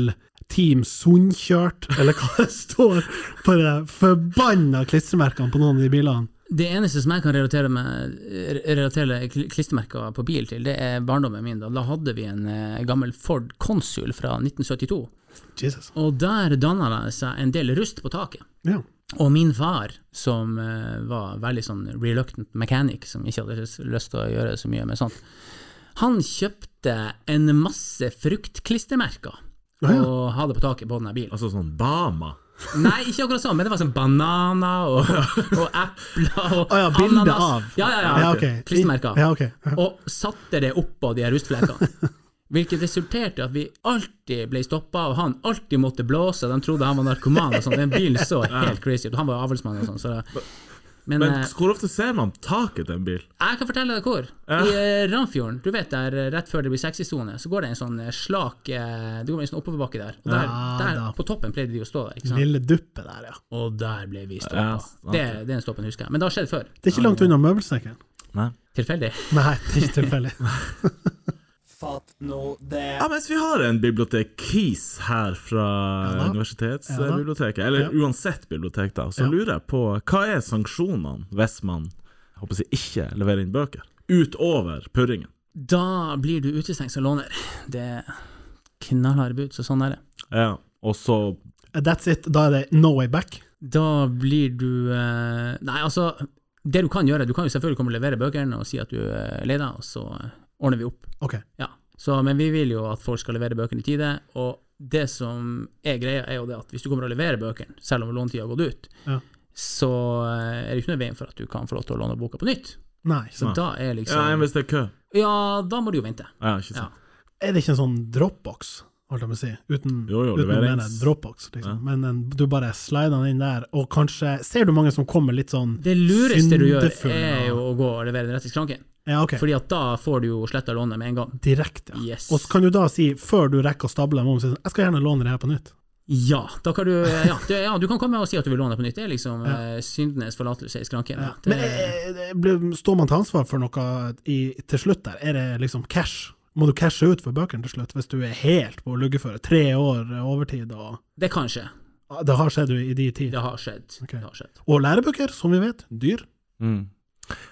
Team Sundkjørt, eller hva det står på de forbanna klistremerkene på noen av de bilene. Det eneste som jeg kan relatere, meg, re- relatere kl- klistremerker på bil til, det er barndommen min. Da, da hadde vi en eh, gammel Ford Consul fra 1972, Jesus. og der danna det seg en del rust på taket. Ja. Og min far, som eh, var veldig sånn reluctant mechanic, som ikke hadde s- lyst til å gjøre så mye med sånt, han kjøpte en masse fruktklistremerker Ja, ja. og hadde på taket på denne bilen. Altså sånn Bama? Nei, ikke akkurat sånn, men det var sånn bananer og, og epler og Å ja, bilde av. Ja, ja, ja. Ja, ok. Klistremerker. Ja, ok. Ja. Og satte det oppå de her rustflekkene. Hvilket resulterte i at vi alltid ble stoppa, og han alltid måtte blåse. De trodde han var narkoman, og sånn. den bilen så helt crazy ut. og Han var jo avlsmann og sånn. Så det. Men, Men eh, hvor ofte ser man taket til en bil? jeg kan fortelle deg hvor. I eh, Ramfjorden, du vet der eh, rett før det blir sexysone, så går det en sånn eh, slak eh, Det går en sånn oppoverbakke der. Og der, Ja, der da. på toppen pleide de å stå der. ikke sant? Lille duppe der, ja. Og der ble vi Ja, stoppa. sant. det, det er en stoppen, husker jeg. Men det har skjedd før. Det er ikke langt unna møbelstikkeren. Nei. Tilfeldig. Nei, det er ikke tilfeldig. Fatt nå det. Ja, mens vi har en bibliotekis her fra Ja da. Ja da. universitetsbiblioteket, eller Ja. uansett bibliotek, da, så Ja. lurer jeg på hva er sanksjonene hvis man jeg håper jeg, ikke leverer inn bøker? Utover purringen. Da blir du utestengt som låner. Det er knallharde bud, så sånn er det. Ja. Og så That's it. Da er det no way back. Da blir du eh, Nei, altså, det du kan gjøre Du kan jo selvfølgelig komme og levere bøkene og si at du er lei deg, og så eh, ordner vi opp. Ok. Ja. Så, men vi vil jo at folk skal levere bøkene i tide, og det som er greia, er jo det at hvis du kommer og leverer bøkene, selv om lånetida har gått ut, Ja. så eh, er det ikke noe i veien for at du kan få lov til å låne boka på nytt. Nei. Så Nei. da Ja, er liksom hvis det er kø. Ja, da må du jo vente. Ja, ikke sant. Er det ikke en sånn dropbox, holdt jeg på å si? Uten, Jo, jo, uten å leverings. mene dropbox, liksom. Men en, du bare slider den inn der, og kanskje Ser du mange som kommer litt sånn Det lureste du gjør, syndefull, er og- jo å gå og levere den rett i skranken. Ja, ok. Fordi at da får du jo sletta lånet med en gang. Direkte, ja. Yes. Og så kan du da si, før du rekker å stable dem om, si sånn, jeg skal gjerne låne det her på nytt. Ja, da kan du, ja, du, ja, du kan komme og si at du vil låne på nytt. Det er liksom eh, syndenes forlatelse i skranken. Ja. da. Men Det, eh, det blir- står man til ansvar for noe i, til slutt der? Er det liksom cash? Må du cashe ut for bøkene til slutt, hvis du er helt på luggeføre? Tre år eh, overtid, og det kan skje. Ah, det har skjedd jo i de tider. Det har skjedd. Ok. Det har skjedd. Og lærebøker, som vi vet, dyr. Mm.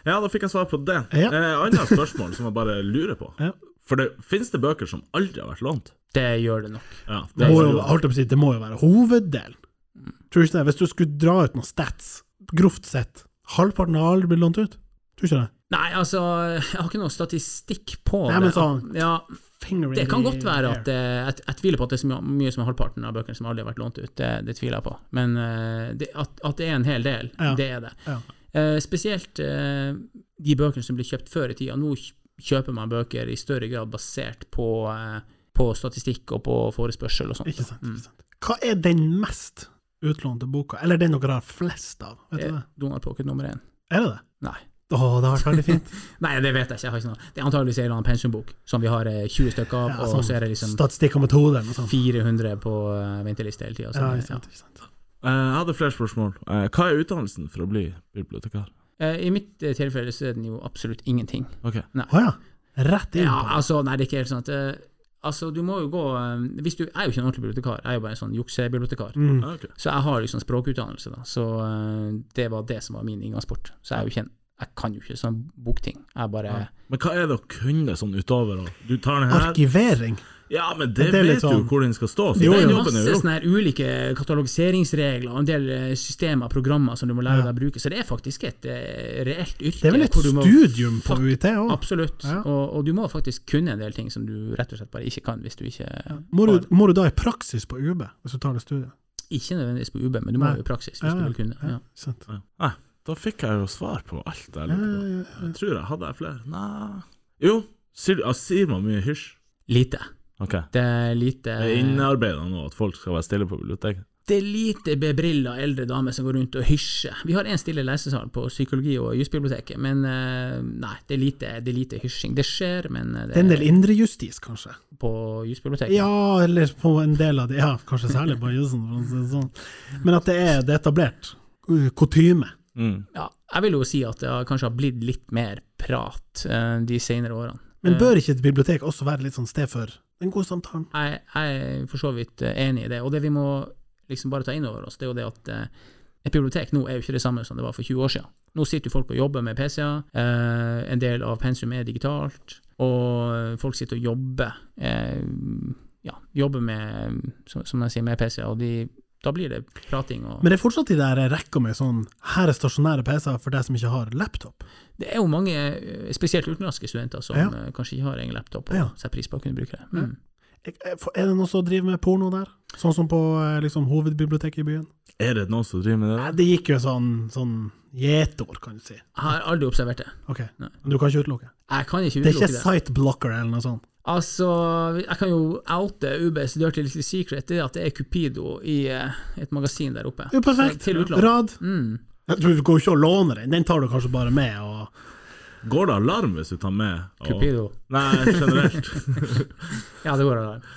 Ja, da fikk jeg svar på det. Ja. Eh, Annet spørsmål som jeg bare lurer på. Ja. For det, finnes det bøker som aldri har vært lånt? Det gjør det nok. Ja, Det er må så jo, lurt. holdt jeg på å si, det må jo være hoveddelen. Mm. Tror du ikke det? Hvis du skulle dra ut noen stats, grovt sett, halvparten har aldri blitt lånt ut? Tror du ikke det? Nei, altså, jeg har ikke noe statistikk på Nei, men det. sånn- ja, Finger in det kan the godt være at air. eh, jeg, jeg tviler på at det er så mye, mye som er halvparten av bøkene som aldri har vært lånt ut. Det, det tviler jeg på. Men eh, det, at, at det er en hel del, Ja. det er det. Ja. Eh, spesielt eh, de bøkene som ble kjøpt før i tida. Nå kj- kjøper man bøker i større grad basert på, eh, på statistikk og på forespørsel og sånt. Ikke sant, ikke sant. Hva er den mest utlånte boka, eller den dere har flest av? Vet du Eh, det? Donald Pocket nummer én. Er det det? Nei. Å, det har vært veldig fint. Nei, det vet jeg ikke. Jeg har ikke noe. Det er antageligvis en eller annen pensjonbok som vi har eh, 20 stykker av, Ja, sånn og så er det liksom Statistikk og metoder og sånt. 400 på eh, venteliste hele tida. Ja, ikke sant, ikke sant. Eh, jeg hadde flere spørsmål. Eh, hva er utdannelsen for å bli bibliotekar? I mitt eh, tilfelle så er den jo absolutt ingenting. Ok. Å ja. Rett inn Ja, på det. altså, nei, det er ikke helt sånn at eh, Altså, du må jo gå eh, hvis du, Jeg er jo ikke en ordentlig bibliotekar, jeg er jo bare en sånn juksebibliotekar. Mm. Ah, ok. Så jeg har liksom språkutdannelse, da. Så eh, det var det som var min inngangsport. Så jeg er jo ikke en Jeg kan jo ikke sånn bokting. Jeg bare Men hva er det å kunne sånn utover å Du tar den her Arkivering. Ja, men det, Det er litt vet du jo sånn- hvor den skal stå, så Jo, det den er jo. jobben er masse jo gjort. sånne her ulike katalogiseringsregler og en del eh, systemer og programmer som du må lære Ja. deg å bruke, så det er faktisk et eh, reelt yrke. Det er vel et hvor du må- studium på Fuck, UiT òg? Absolutt, Ja. og, og du må faktisk kunne en del ting som du rett og slett bare ikke kan hvis du ikke Må, du- må du da i praksis på UB, hvis du tar det studiet? Ikke nødvendigvis på UB, men du må Nei. jo i praksis hvis Ja, du ja, vil kunne. ja, Ja. sant. Ja. Nei, da fikk jeg jo svar på alt jeg Ja, lurte på. ja, ja. Jeg tror jeg hadde jeg flere. Nei Jo, sier, du- ja, sier man mye hysj? Lite. Ok. Det er lite Det er innarbeida nå at folk skal være stille på biblioteket. Det er lite bebrilla eldre damer som går rundt og hysjer. Vi har én stille lesesal på psykologi- og jusbiblioteket, men eh, nei, det er lite, det er lite hysjing. Det skjer, men eh, Det er en del indrejustis, kanskje? på jusbiblioteket. Ja, eller på en del av de Ja, kanskje særlig på jussen, for å si det sånn. Men at det er, det er etablert. uh, Kutyme. Mm. Ja, jeg vil jo si at det har kanskje har blitt litt mer prat eh, de senere årene. Men bør ikke et bibliotek også være litt sånn sted for den gode samtalen? Jeg, jeg er for så vidt eh, enig i det, og det vi må liksom bare ta inn over oss, det er jo det at eh, et bibliotek nå er jo ikke det samme som det var for 20 år siden. Nå sitter jo folk og jobber med PC-er, eh, en del av pensum er digitalt, og folk sitter og jobber, eh, ja, jobber med, som, som jeg sier, med PC-er, og de, da blir det prating og Men det er fortsatt de der rekka med sånn her er stasjonære PC-er for deg som ikke har laptop. Det er jo mange, eh, spesielt utenlandske studenter, som Ja. eh, kanskje ikke har egen laptop og Ja. setter pris på å kunne bruke det. Mm. Er er det noen som driver med porno der? Sånn som på eh, liksom, hovedbiblioteket i byen? Er det noen som driver med det? Nei, der? det gikk jo sånn, sånn gjetord, kan du si. Jeg har aldri observert det. Ok, Nei. men du kan ikke utelukke. Jeg kan ikke Det er utelukke ikke det. site blocker eller noe sånt. Altså, jeg kan jo oute UBs Dirty Little Secret, det er at det er Cupido i eh, et magasin der oppe. Jo, perfekt. Til utlandet. Rad. Mm. Jeg tror du går ikke og låner den, den tar du kanskje bare med. Og... Går det alarm hvis du tar med og- Cupido. Nei, generelt. Ja, det går an.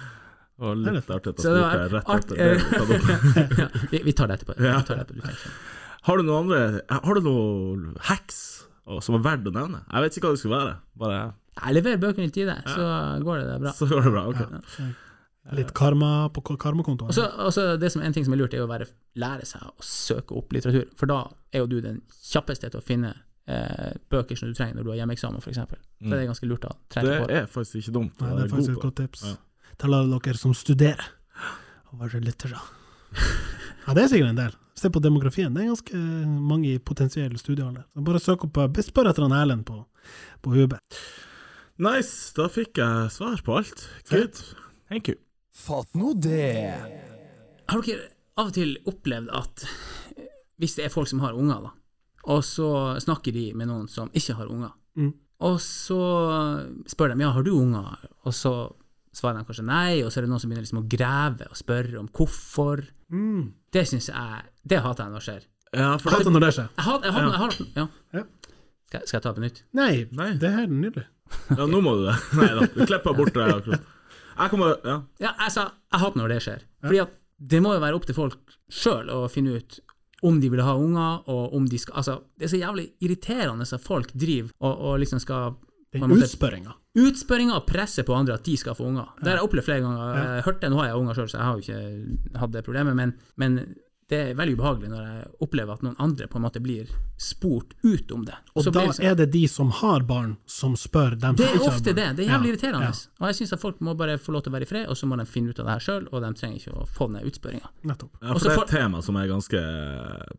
Og litt artig at jeg Så det var spurte rett art- etter det. du tatt opp. Ja, vi, vi tar det etterpå. Vi tar det etterpå. Du tenker sånn. Har du noen andre Har du noen hacks og- som er verdt å nevne? Jeg vet ikke hva det skulle være, bare Jeg leverer bøkene i tide, så går det der bra. så går det bra. Ok. Litt karma på k- karmakontoen. Og så- og så det som en ting som er lurt, er jo å være, lære seg å søke opp litteratur. For da er jo du den kjappeste til å finne eh, bøker som du trenger når du har hjemmeeksamen, f.eks. Så det er ganske lurt å trene Det på. er faktisk ikke dumt. å Nei, det er være faktisk et god på. godt tips. Ja. Til alle dere som studerer, og være lyttere. Ja, det er sikkert en del. Se på demografien, det er ganske mange i potensiell studiealder. Så Bare søk opp, eh, spør etter han Erlend på, på UB. Nice, da fikk jeg svar på alt. Good. Thank you. Fatt nå det! Har dere av og til opplevd at eh, hvis det er folk som har unger, da, og så snakker de med noen som ikke har unger, Mm. og så spør de ja, har du unger, og så svarer de kanskje nei, og så er det noen som begynner liksom å grave og spørre om hvorfor. Mm. Det syns jeg Det hater jeg når det skjer. Ja, for Hater når det skjer. Jeg har, jeg har, jeg har, ja. Ja. Skal, skal jeg ta på nytt? Nei, Nei. det er helt nydelig. Ja, nå må du det. Nei da, du klipper bort det akkurat. Jeg kommer Ja. Ja, jeg sa jeg hater når det skjer. Fordi at det må jo være opp til folk sjøl å finne ut om de vil ha unger, og om de skal Altså, det er så jævlig irriterende at folk driver og, og liksom skal på en Den måte- utspørringa. Utspørringa og presset på andre at de skal få unger. Det har jeg opplevd flere ganger. Jeg hørte, Nå har jeg unger sjøl, så jeg har jo ikke hatt det problemet, men, men det er veldig ubehagelig når jeg opplever at noen andre på en måte blir spurt ut om det. Og Så da blir det sånn- er det de som har barn, som spør dem det som er ikke har ofte det. barn. Det er jævlig Ja, irriterende. ja, Og jeg syns at folk må bare få lov til å være i fred, og så må de finne ut av det her sjøl, og de trenger ikke å få den utspørringa. nettopp. ja, for Også det er for- et tema som er ganske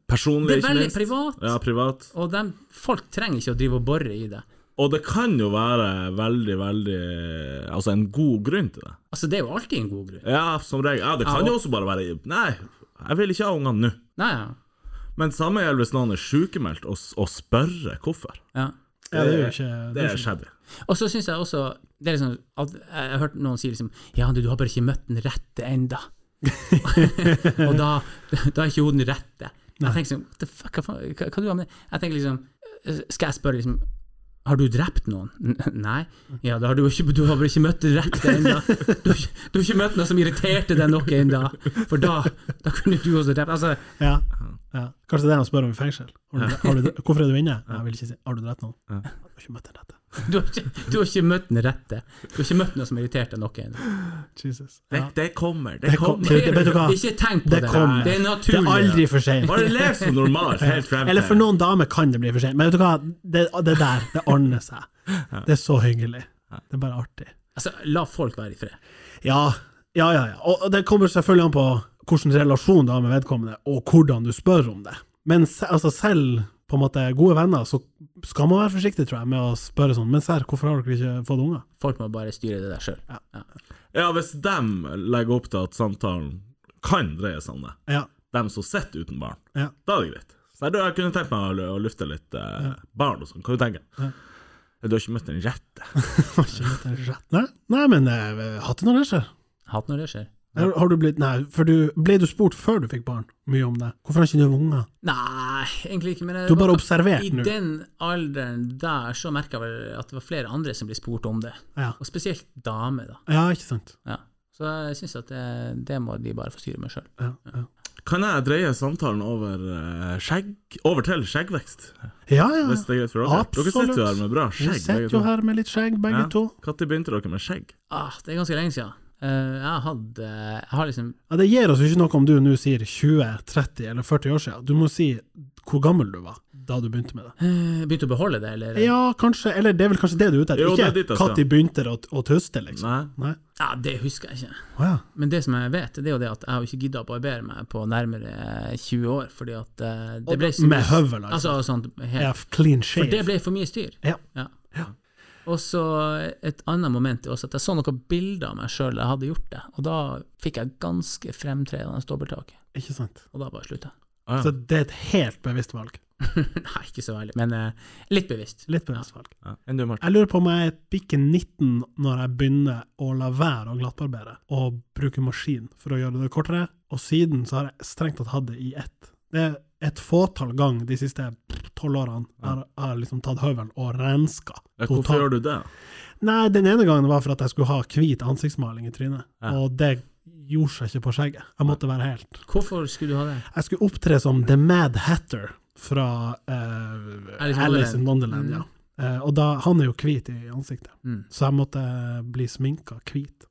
personlig, Det er ikke veldig minst. privat. Ja, privat. Og de, folk trenger ikke å drive og bore i det. Og det kan jo være veldig, veldig Altså en god grunn til det. Altså, det er jo alltid en god grunn. Ja, som regel. Ja, det kan Ja, jo også bare være Nei, jeg vil ikke ha ungene nå. Nei, ja. Men samme gjelder hvis noen er sykemeldt, og, s- og spørre hvorfor. ja. Ja, det er jo ikke Det er shabby. Og så syns jeg også det er liksom, at Jeg har hørt noen si liksom Ja, du har bare ikke møtt den rette enda. og da, da er ikke hun den rette. Jeg tenker sånn What the fuck, hva faen hva, hva du har med Jeg tenker liksom skal jeg spørre liksom har du drept noen? N- Nei? Ja, da har du, ikke, du har vel ikke møtt den rette ennå? Du, har ikke- du har ikke møtt noe som irriterte deg noe ennå? For da, da kunne du også drept Altså, Ja, ja. Kanskje det er han spør om i fengsel. Har du, har du, hvorfor er du inne? Jeg vil ikke si Har du drept noen? Ja. Jeg har ikke møtt den rette. du har, ikke, du har ikke møtt den rette. Du har ikke møtt noe som irriterte deg noe ennå. Jesus. Det, Ja. det kommer, det, Det kom- kommer. Vet du hva? Ikke tenk på Det det. kommer. Det Det er er naturlig. aldri for seint. Bare lev som normalt helt frem til Eller for noen damer kan det bli for sent, men vet du hva, det, det der, det ordner seg. Det er så hyggelig. Det er bare artig. Altså, la folk være i fred. Ja, ja, ja. ja. Og og det kommer selvfølgelig an på hvilken relasjon du har med vedkommende, og hvordan du spør om det. Men se, altså selv på en måte gode venner, så skal man være forsiktig, tror jeg, med å spørre sånn Men serr, hvorfor har dere ikke fått unger? Folk må bare styre det der sjøl. Ja, hvis de legger opp til at samtalen kan dreie seg om det, Ja. de som sitter uten barn, Ja. da er det greit. Så jeg, jeg kunne tenkt meg å lu- å lufte litt eh, barn og sånn, kan du tenke? Ja. Du har ikke møtt den rette. Har ikke møtt den rette. Nei, nei, men eh, hatt det når det skjer. Hat når det skjer. Har har du blitt, nei, for du, ble du spurt før du fikk barn mye om det? Hvorfor har ikke du unger? Nei, egentlig ikke. Men jeg- Du har bare observert I nå. den alderen der så merka jeg vel at det var flere andre som ble spurt om det. Ja. Og spesielt damer, da. ja, ikke sant. Ja. Så jeg syns at det, det må de bare få styre med sjøl. Ja, ja. Kan jeg dreie samtalen over eh, skjegg? Over til skjeggvekst, ja, ja. hvis det er greit for dere? Dere Absolutt. sitter jo her med bra Vi skjegg. sitter jo her med litt skjegg, begge Ja. to. Når begynte dere med skjegg? Ah, det er ganske lenge siden. Eh, jeg hadde Jeg har liksom Ja, det gir oss jo ikke noe om du nå sier 20, 30 eller 40 år siden. Du må si hvor gammel du var da du begynte med det. eh, begynt å beholde det, eller Ja, kanskje, eller det er vel kanskje det du er ute etter? Jo, det er dit Ikke jeg skal. når de begynte å, å tuste, liksom. Nei? Nei. Ja, det husker jeg ikke. Å ja. Men det som jeg vet, det er jo det at jeg har jo ikke gidda å barbere meg på nærmere eh, 20 år, fordi at eh, det ble så mye- Med høvel, altså. Altså, sånt, helt, Ja, clean For det shave. ble for mye styr. Ja. Ja. Og så et annet moment er også at jeg så noen bilder av meg sjøl jeg hadde gjort det, og da fikk jeg ganske fremtredende dobbelthake, Ikke sant. og da bare slutta jeg. Ah, Så det er et helt bevisst valg. Nei, ikke så veldig, men eh, litt bevisst. Litt bevisst valg. ja. Enn du, Martin? Jeg lurer på om jeg bikker 19 når jeg begynner å la være å glattbarbere, og bruke maskin for å gjøre det kortere, og siden så har jeg strengt tatt hatt det i ett. Det er et fåtall gang de siste tolv årene jeg har jeg har liksom tatt høvelen og renska Ja, hvorfor totalt. gjør du det? Nei, den ene gangen var for at jeg skulle ha hvit ansiktsmaling i trynet, Ja. og det gjorde seg ikke på skjegget. Jeg måtte være helt Hvorfor skulle du ha det? Jeg skulle opptre som The Mad Hatter fra eh, Alice in Alice in Wonderland. Wonderland. Mm. ja. Eh, og da, han er jo hvit i ansiktet. Mm. Så jeg måtte bli sminka hvit.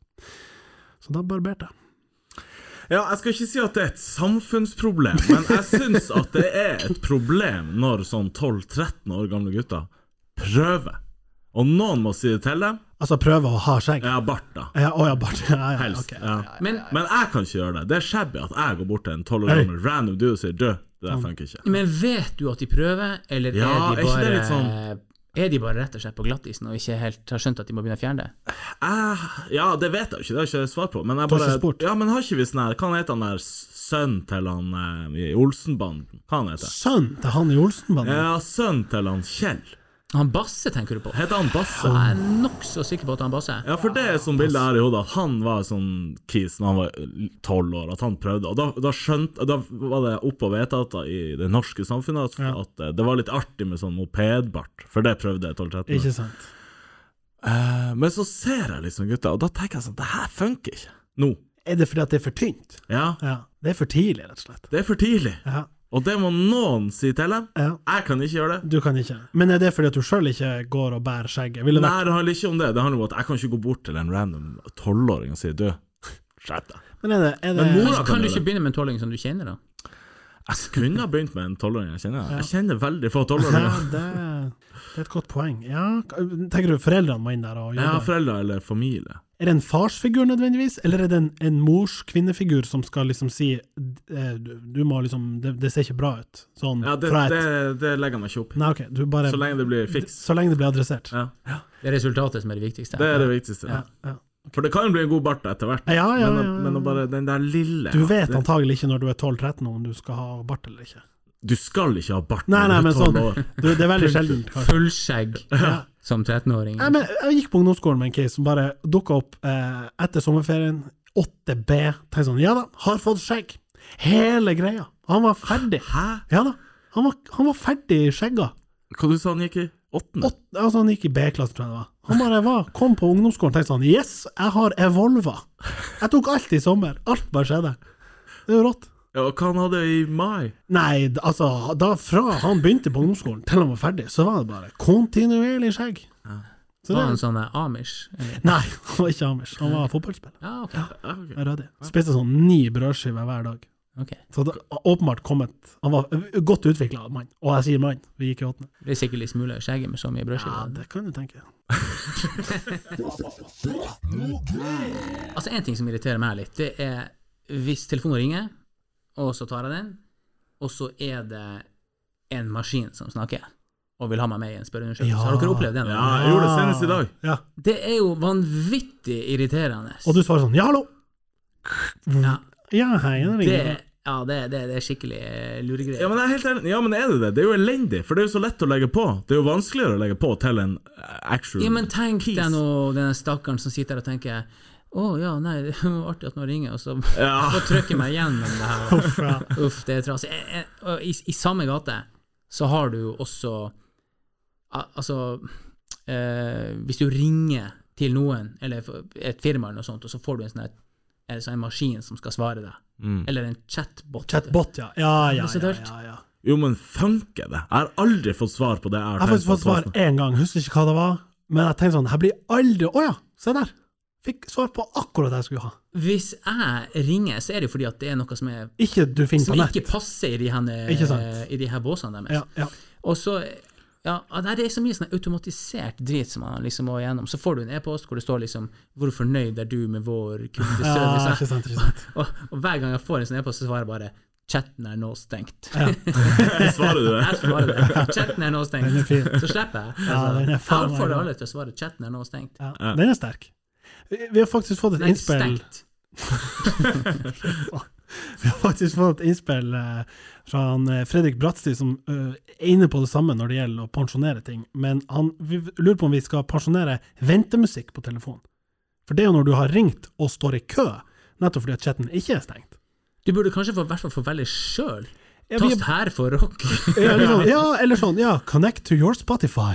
Så da barberte jeg. Ja, jeg skal ikke si at det er et samfunnsproblem, men jeg syns at det er et problem når sånn 12-13 år gamle gutter prøver. Og noen må si det til dem. Altså prøve å ha skjegg? Jeg har bart, da. Ja, å ja, bare ja, ja, ja, Helst. ok. Ja. Men, Men jeg kan ikke gjøre det. Det er shabby at jeg går bort til en 12 år Hei. gammel random dude og sier 'du, det der funker ikke'. men vet du at de prøver, eller Ja, er er de ikke bare det litt sånn- Er de bare rett og slett på glattisen og ikke helt har skjønt at de må begynne å fjerne det? Jeg, ja, det vet jeg jo ikke, det har jeg ikke svar på. Men jeg Du har bare, ikke spurt? ja, men har ikke vi sånn her Hva heter han der sønnen til han eh, i Olsenbanden? Hva han heter Sønnen til han i Olsenbanden? Ja, sønnen til han Kjell. Han Basse tenker du på? Heter han Basse? Jeg er nokså sikker på at han Basse Ja, for det er sånn bilde her i hodet, at han var sånn kis når han var tolv år, at han prøvde. Og da, da skjønte Da var det opp og vedtatt i det norske samfunnet at, Ja. at eh, det var litt artig med sånn mopedbart, for det prøvde jeg 12-13 år. Ikke sant? Eh, men så ser jeg liksom gutta, og da tenker jeg sånn Det her funker ikke nå. Er det fordi at det er for tynt? Ja, Ja. Det er for tidlig, rett og slett. det er for tidlig, Ja. og det må noen si til dem. ja. Jeg kan ikke gjøre det. Du kan ikke Men er det fordi at du sjøl ikke går og bærer skjegget? Ville Nei, vært, det handler ikke om det. Det handler om at jeg kan ikke gå bort til en random tolvåring og si du, skjerp deg. men er det, er det Men mor- Kan, Hvordan kan kan du du ikke det? begynne med en tolving som du kjenner, da? Jeg kunne ha begynt med en tolvåring jeg kjenner. Jeg kjenner veldig få tolvåringer. ja, det, det er et godt poeng. Ja, Tenker du foreldrene må inn der og Ja, jobbe? foreldre eller familie. Er det en farsfigur nødvendigvis, eller er det en, en mors kvinnefigur som skal liksom si eh, du, du må liksom, det, det ser ikke bra ut? Sånn Ja, det, fra et det, det legger jeg meg ikke opp i. Nei, ok, du bare Så lenge det blir fiks. så lenge det blir adressert. Ja. Det er resultatet som er det viktigste. Det er det viktigste. Ja, ja. For det kan jo bli en god bart etter hvert, Ja, ja, ja, men, ja. men å bare den der lille Du vet det, antagelig ikke når du er 12-13 om du skal ha bart eller ikke. Du skal ikke ha bart Nei, når nei, du er men 12 sånn år. du, Det er veldig sjelden, kanskje. Fullskjegg Ja. som 13-åring. Nei, men jeg gikk på ungdomsskolen med en case som bare dukka opp eh, etter sommerferien. 8B. Tenkte sånn Ja da, har fått skjegg. Hele greia. Han var ferdig. Hæ? Ja da. Han var, han var ferdig i skjegga. Hva du sa han gikk i? Åttende? Åt- Altså, han gikk i B-klasse, tror jeg det var. Han bare var, kom på ungdomsskolen og tenkte sånn Yes, jeg har Evolva! Jeg tok alt i sommer. Alt bare skjedde. Det er jo rått. Ja, og hva han hadde i mai? Nei, d- altså, da fra han begynte på ungdomsskolen til han var ferdig, så var det bare kontinuerlig skjegg. Så Var han det, sånn eh, amish? eller? nei, han var ikke Amers. Han var fotballspiller. Ja, ok. Ja, ok. Rødig. Spiste sånn ni brødskiver hver dag. ok. Så det har åpenbart kommet Han var en godt utvikla mann. Og jeg sier mann, vi gikk i åttende. Det er sikkert litt smula i skjegget med så mye Ja, brødskiver. det kan du tenke. Altså, en ting som irriterer meg litt, det er hvis telefonen ringer, og så tar jeg den, og så er det en maskin som snakker, og vil ha meg med i en spørreundersøkelse. Ja. Har dere opplevd det? nå? Ja, jeg gjorde det senest i dag. Ah, Ja. Det er jo vanvittig irriterende. Og du svarer sånn ja, hallo! ja, Ja, hei, det det, ringer. ja, det, det, det er skikkelig eh, luregreier. Ja men, jeg er helt enig. ja, men er det det? Det er jo elendig, for det er jo så lett å legge på. Det er jo vanskeligere å legge på til en eh, actual Ja, men tenk piece. deg nå den stakkaren som sitter der og tenker å ja, nei, det var artig at noen ringer, og så Ja. får trykke meg gjennom det her. Uff, det er trasig. Jeg- jeg- og I, I samme gate så har du jo også al- Altså, eh, hvis du ringer til noen, eller f- et firma eller noe sånt, og så får du en sånn her- en sånn maskin som skal svare deg, Mm. eller en chatbot Chatbot, ja. Ja, ja, Det er så ja. dølt. ja, ja. Jo, men funker det? Jeg har aldri fått svar på det Jeg jeg har har tenkt faktisk på fått svar Torsten. én gang, husker ikke hva det var. Men jeg tenkte sånn, jeg blir aldri Å ja, se der! Fikk svar på akkurat det jeg skulle ha. Hvis jeg ringer, så er det jo fordi at det er noe som, er, Ikke du finner som på nett. ikke passer i de Ikke sant. her, i de her båsene deres. Ja, ja. Og så ja, nei, Det er så mye sånn automatisert drit som man liksom må igjennom. Så får du en e-post hvor det står liksom 'Hvor fornøyd er du med vår kundeservice?' ja, ikke sant, ikke sant. og, og hver gang jeg får en sånn e-post, så svarer jeg bare 'Chatten er nå stengt'. Svarer du det? Jeg svarer det. 'Chatten er nå stengt'. Den er fin. Så slipper jeg. Altså, Ja, den er jeg faen meg oppfordrer bra. alle til å svare 'Chatten er nå stengt'. Ja. Den er sterk. Vi vi har faktisk fått et Nei, innspill stengt. Vi har faktisk fått et innspill eh, fra han eh, Fredrik Bratstid som eh, er inne på det samme når det gjelder å pensjonere ting, men han vi lurer på om vi skal pensjonere ventemusikk på telefon. For det er jo når du har ringt og står i kø, nettopp fordi at chatten ikke er stengt. Du burde kanskje få, i hvert fall få velge sjøl. Ja, vi- Tast her for rock. Ja, eller sånn, ja, eller sånn, ja, connect to your Spotify.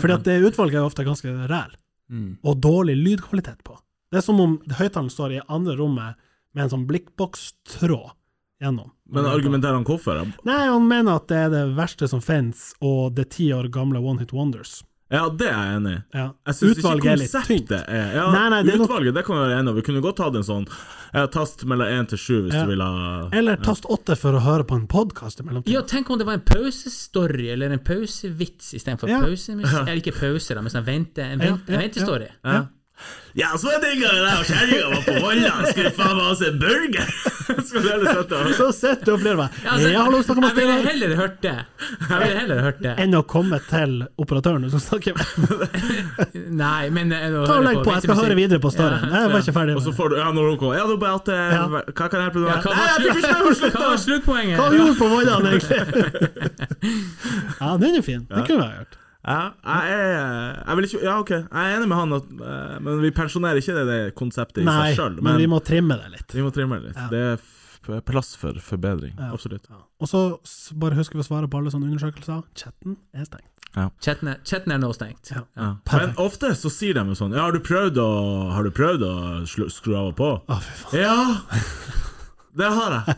Fordi at det utvalget er ofte ganske ræl, Mm. og dårlig lydkvalitet på. Det er som om høyttaleren står i andre rommet med en sånn blikkbokstråd gjennom. Men argumenterer han hvorfor? Nei, han mener at det er det verste som finnes, og det ti år gamle One Hit Wonders. Ja, det er jeg enig i. Ja. Jeg syns ikke Utvalget er litt konseptet tynt. er ja, Nei, nei, det er nok- Utvalget det kan vi være enig om. Vi kunne godt tatt en sånn ja, tast mellom én til sju hvis Ja. du vil ha Eller tast åtte for å høre på en podkast i mellomtiden. Ja, tenk om det var en pausestory, eller en pausevits istedenfor Ja. pausemusikk. Eller ikke pause, da, men sånn vente, en, vent, Ja, ja, en ventestory. Ja. Ja, så var det en gang jeg og kjerringa var på Volla, skulle faen meg ha oss en burger! Skulle heller sette oss- Så sitter du og flirer meg. Ja, altså, ja, hallo, snakker med jeg ville Steinar. heller hørt det. Jeg ville heller hørt det. Enn å komme til operatøren du skal snakke med. Nei, men eh, nå Ta og hører jeg legg på, jeg skal ventemusikk. høre videre på storyen. Jeg var ikke ferdig Og med så det. får du Ja, når hun kommer Ja, du bare at eh, Ja. Hva kan jeg hjelpe deg Ja, med? hva, Nei, jeg fikk ikke var med å slutt, hva var slutte! sluttpoenget? Hva gjorde du på Vollan, egentlig? Ja, den er fin. Det kunne jeg ha gjort. Ja, jeg, er- jeg vil ikke Ja, OK, jeg er enig med han, at, eh, men vi pensjonerer ikke det, det konseptet i Nei, seg sjøl. men vi må trimme det litt. vi må trimme det litt. Det er f- plass for forbedring. Absolutt. Ja. Og så s- bare husk å svare på alle sånne undersøkelser. Chatten er stengt. Chatten er- chatten er nå stengt. Ja. Ja. Men Perfekt. ofte så sier de jo sånn Ja, har du prøvd å, har du prøvd å slu, skru av og på? Å, fy faen. Ja! Det har jeg.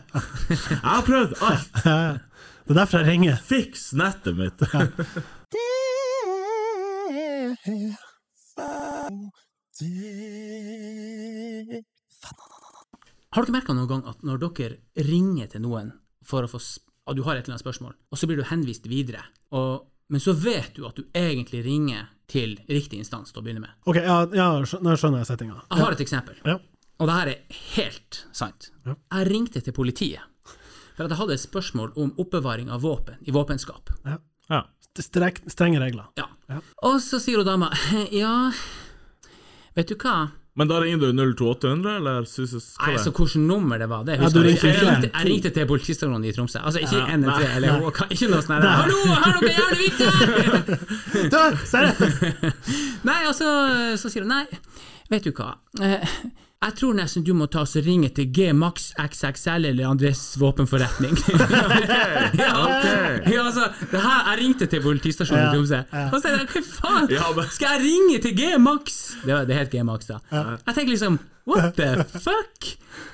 Jeg har prøvd alt. Ja, ja. Det er derfor jeg ringer. Fiks nettet mitt. Har dere merka noen gang at når dere ringer til noen for å få sp- at du har et eller annet spørsmål, og så blir du henvist videre, og, men så vet du at du egentlig ringer til riktig instans til å begynne med? Ok, ja, ja skjø- nå skjønner jeg settinga. Jeg har et eksempel. Ja. Og det her er helt sant. Ja. Jeg ringte til politiet for at jeg hadde et spørsmål om oppbevaring av våpen i våpenskap. Ja. Strek, strenge regler. Ja. Ja. Og så sier hun dama ja, vet du hva? Men da ringer du 02800, eller synes hva Nei, det så er? hvilket nummer det var, det Ja, husker du jeg ikke. ringte Jeg ikke. ringte, jeg ringte til politistasjonen i Tromsø. Altså ikke Ja, 113 eller HK, ikke noe sånt. der. Hallo, har dere jævlig viktig her? Du, seriøst! Nei, og så, så sier hun nei, vet du hva. Eh, Jeg tror nesten du må ta oss og ringe til G Max XXL eller Andres våpenforretning. ja, ok. ja, altså, det her, jeg ringte til politistasjonen Ja, i Tromsø. ja. Og så tenkte jeg, hva faen, Ja, men- skal jeg ringe til G Max? Det, var- det het G Max da. Jeg tenker liksom, what the fuck?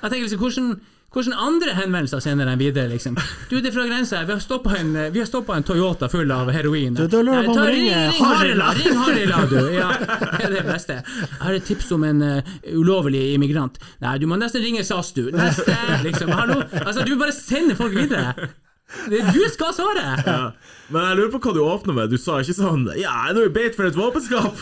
Jeg tenker liksom, hvordan... Hvordan andre henvendelser sender den videre, liksom? Du, det er fra grensa, vi har stoppet en, vi har stoppet en Toyota full av heroin. Du, da lurer jeg på om Nei, ta- du ringer ring Harila! Harila. Ring Harila, du! Ja, det er det beste. Jeg har et tips om en eh, ulovlig immigrant. Nei, du må nesten ringe SAS, du. Neste! Liksom. Hallo! Altså, du bare sender folk videre. Det, du skal svare! Men jeg lurer på hva du åpner med. Du sa ikke sånn Ja, jeg er nå i beit for et våpenskap!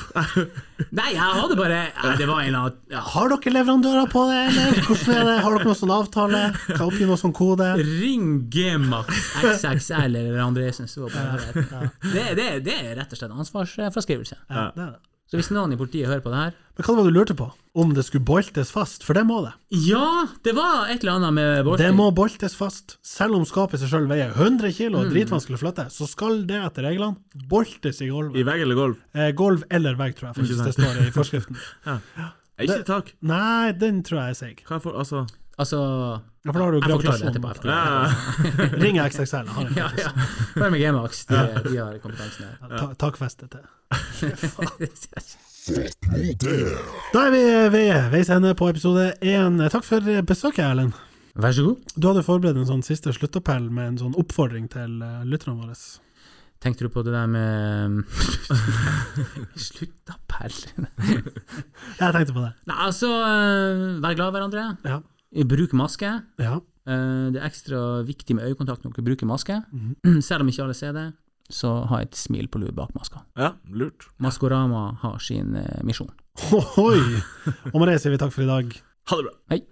Nei, jeg hadde bare Nei, det var en eller annen ja. Har dere leverandører på det, eller? Hvordan er det? Har dere noen sånn avtale? Kan oppgi noen sånn kode? Ring Gmax XXL eller Andresen. så bare- Det, det, det er rett og slett ansvarsfraskrivelse. Ja, det er det. Så hvis noen i politiet hører på det her Men hva var det du lurte på? Om det skulle boltes fast? For det må det. Ja, det var et eller annet med Borti. Det må boltes fast. Selv om skapet i seg sjøl veier 100 kilo og er dritvanskelig å flytte, så skal det etter reglene boltes i I gulvet. vegg eller gulv? Eh, gulv eller vegg, tror jeg faktisk det står i forskriften. Er Ikke tak. Nei, den tror jeg er seig. Hva jeg får Altså Altså Ja, for da har du Jeg forklarer gravitasjon. det etterpå. jeg ja, forklarer det. Ring XXL, har jeg. ja, ja. Bare med Gmax, de, de har kompetansen her. Ta, takfeste til. Takk Da er vi ved veis ende på episode én. Takk for besøket, Erlend. Vær så god. Du hadde forberedt en sånn siste sluttappell med en sånn oppfordring til eh, lytterne våre. Tenkte du på det der med um, Slutt da, perl. Jeg tenkte på det. Nei, altså, eh, vær glad i hverandre. Ja. Bruk maske. ja. Eh, Det er ekstra viktig med øyekontakt når dere bruker maske. Selv om ikke alle ser det, så ha et smil på lue bak maska. ja, lurt. Maskorama har sin eh, misjon. Ohoi! Og med det sier vi takk for i dag. Ha det bra. Hei.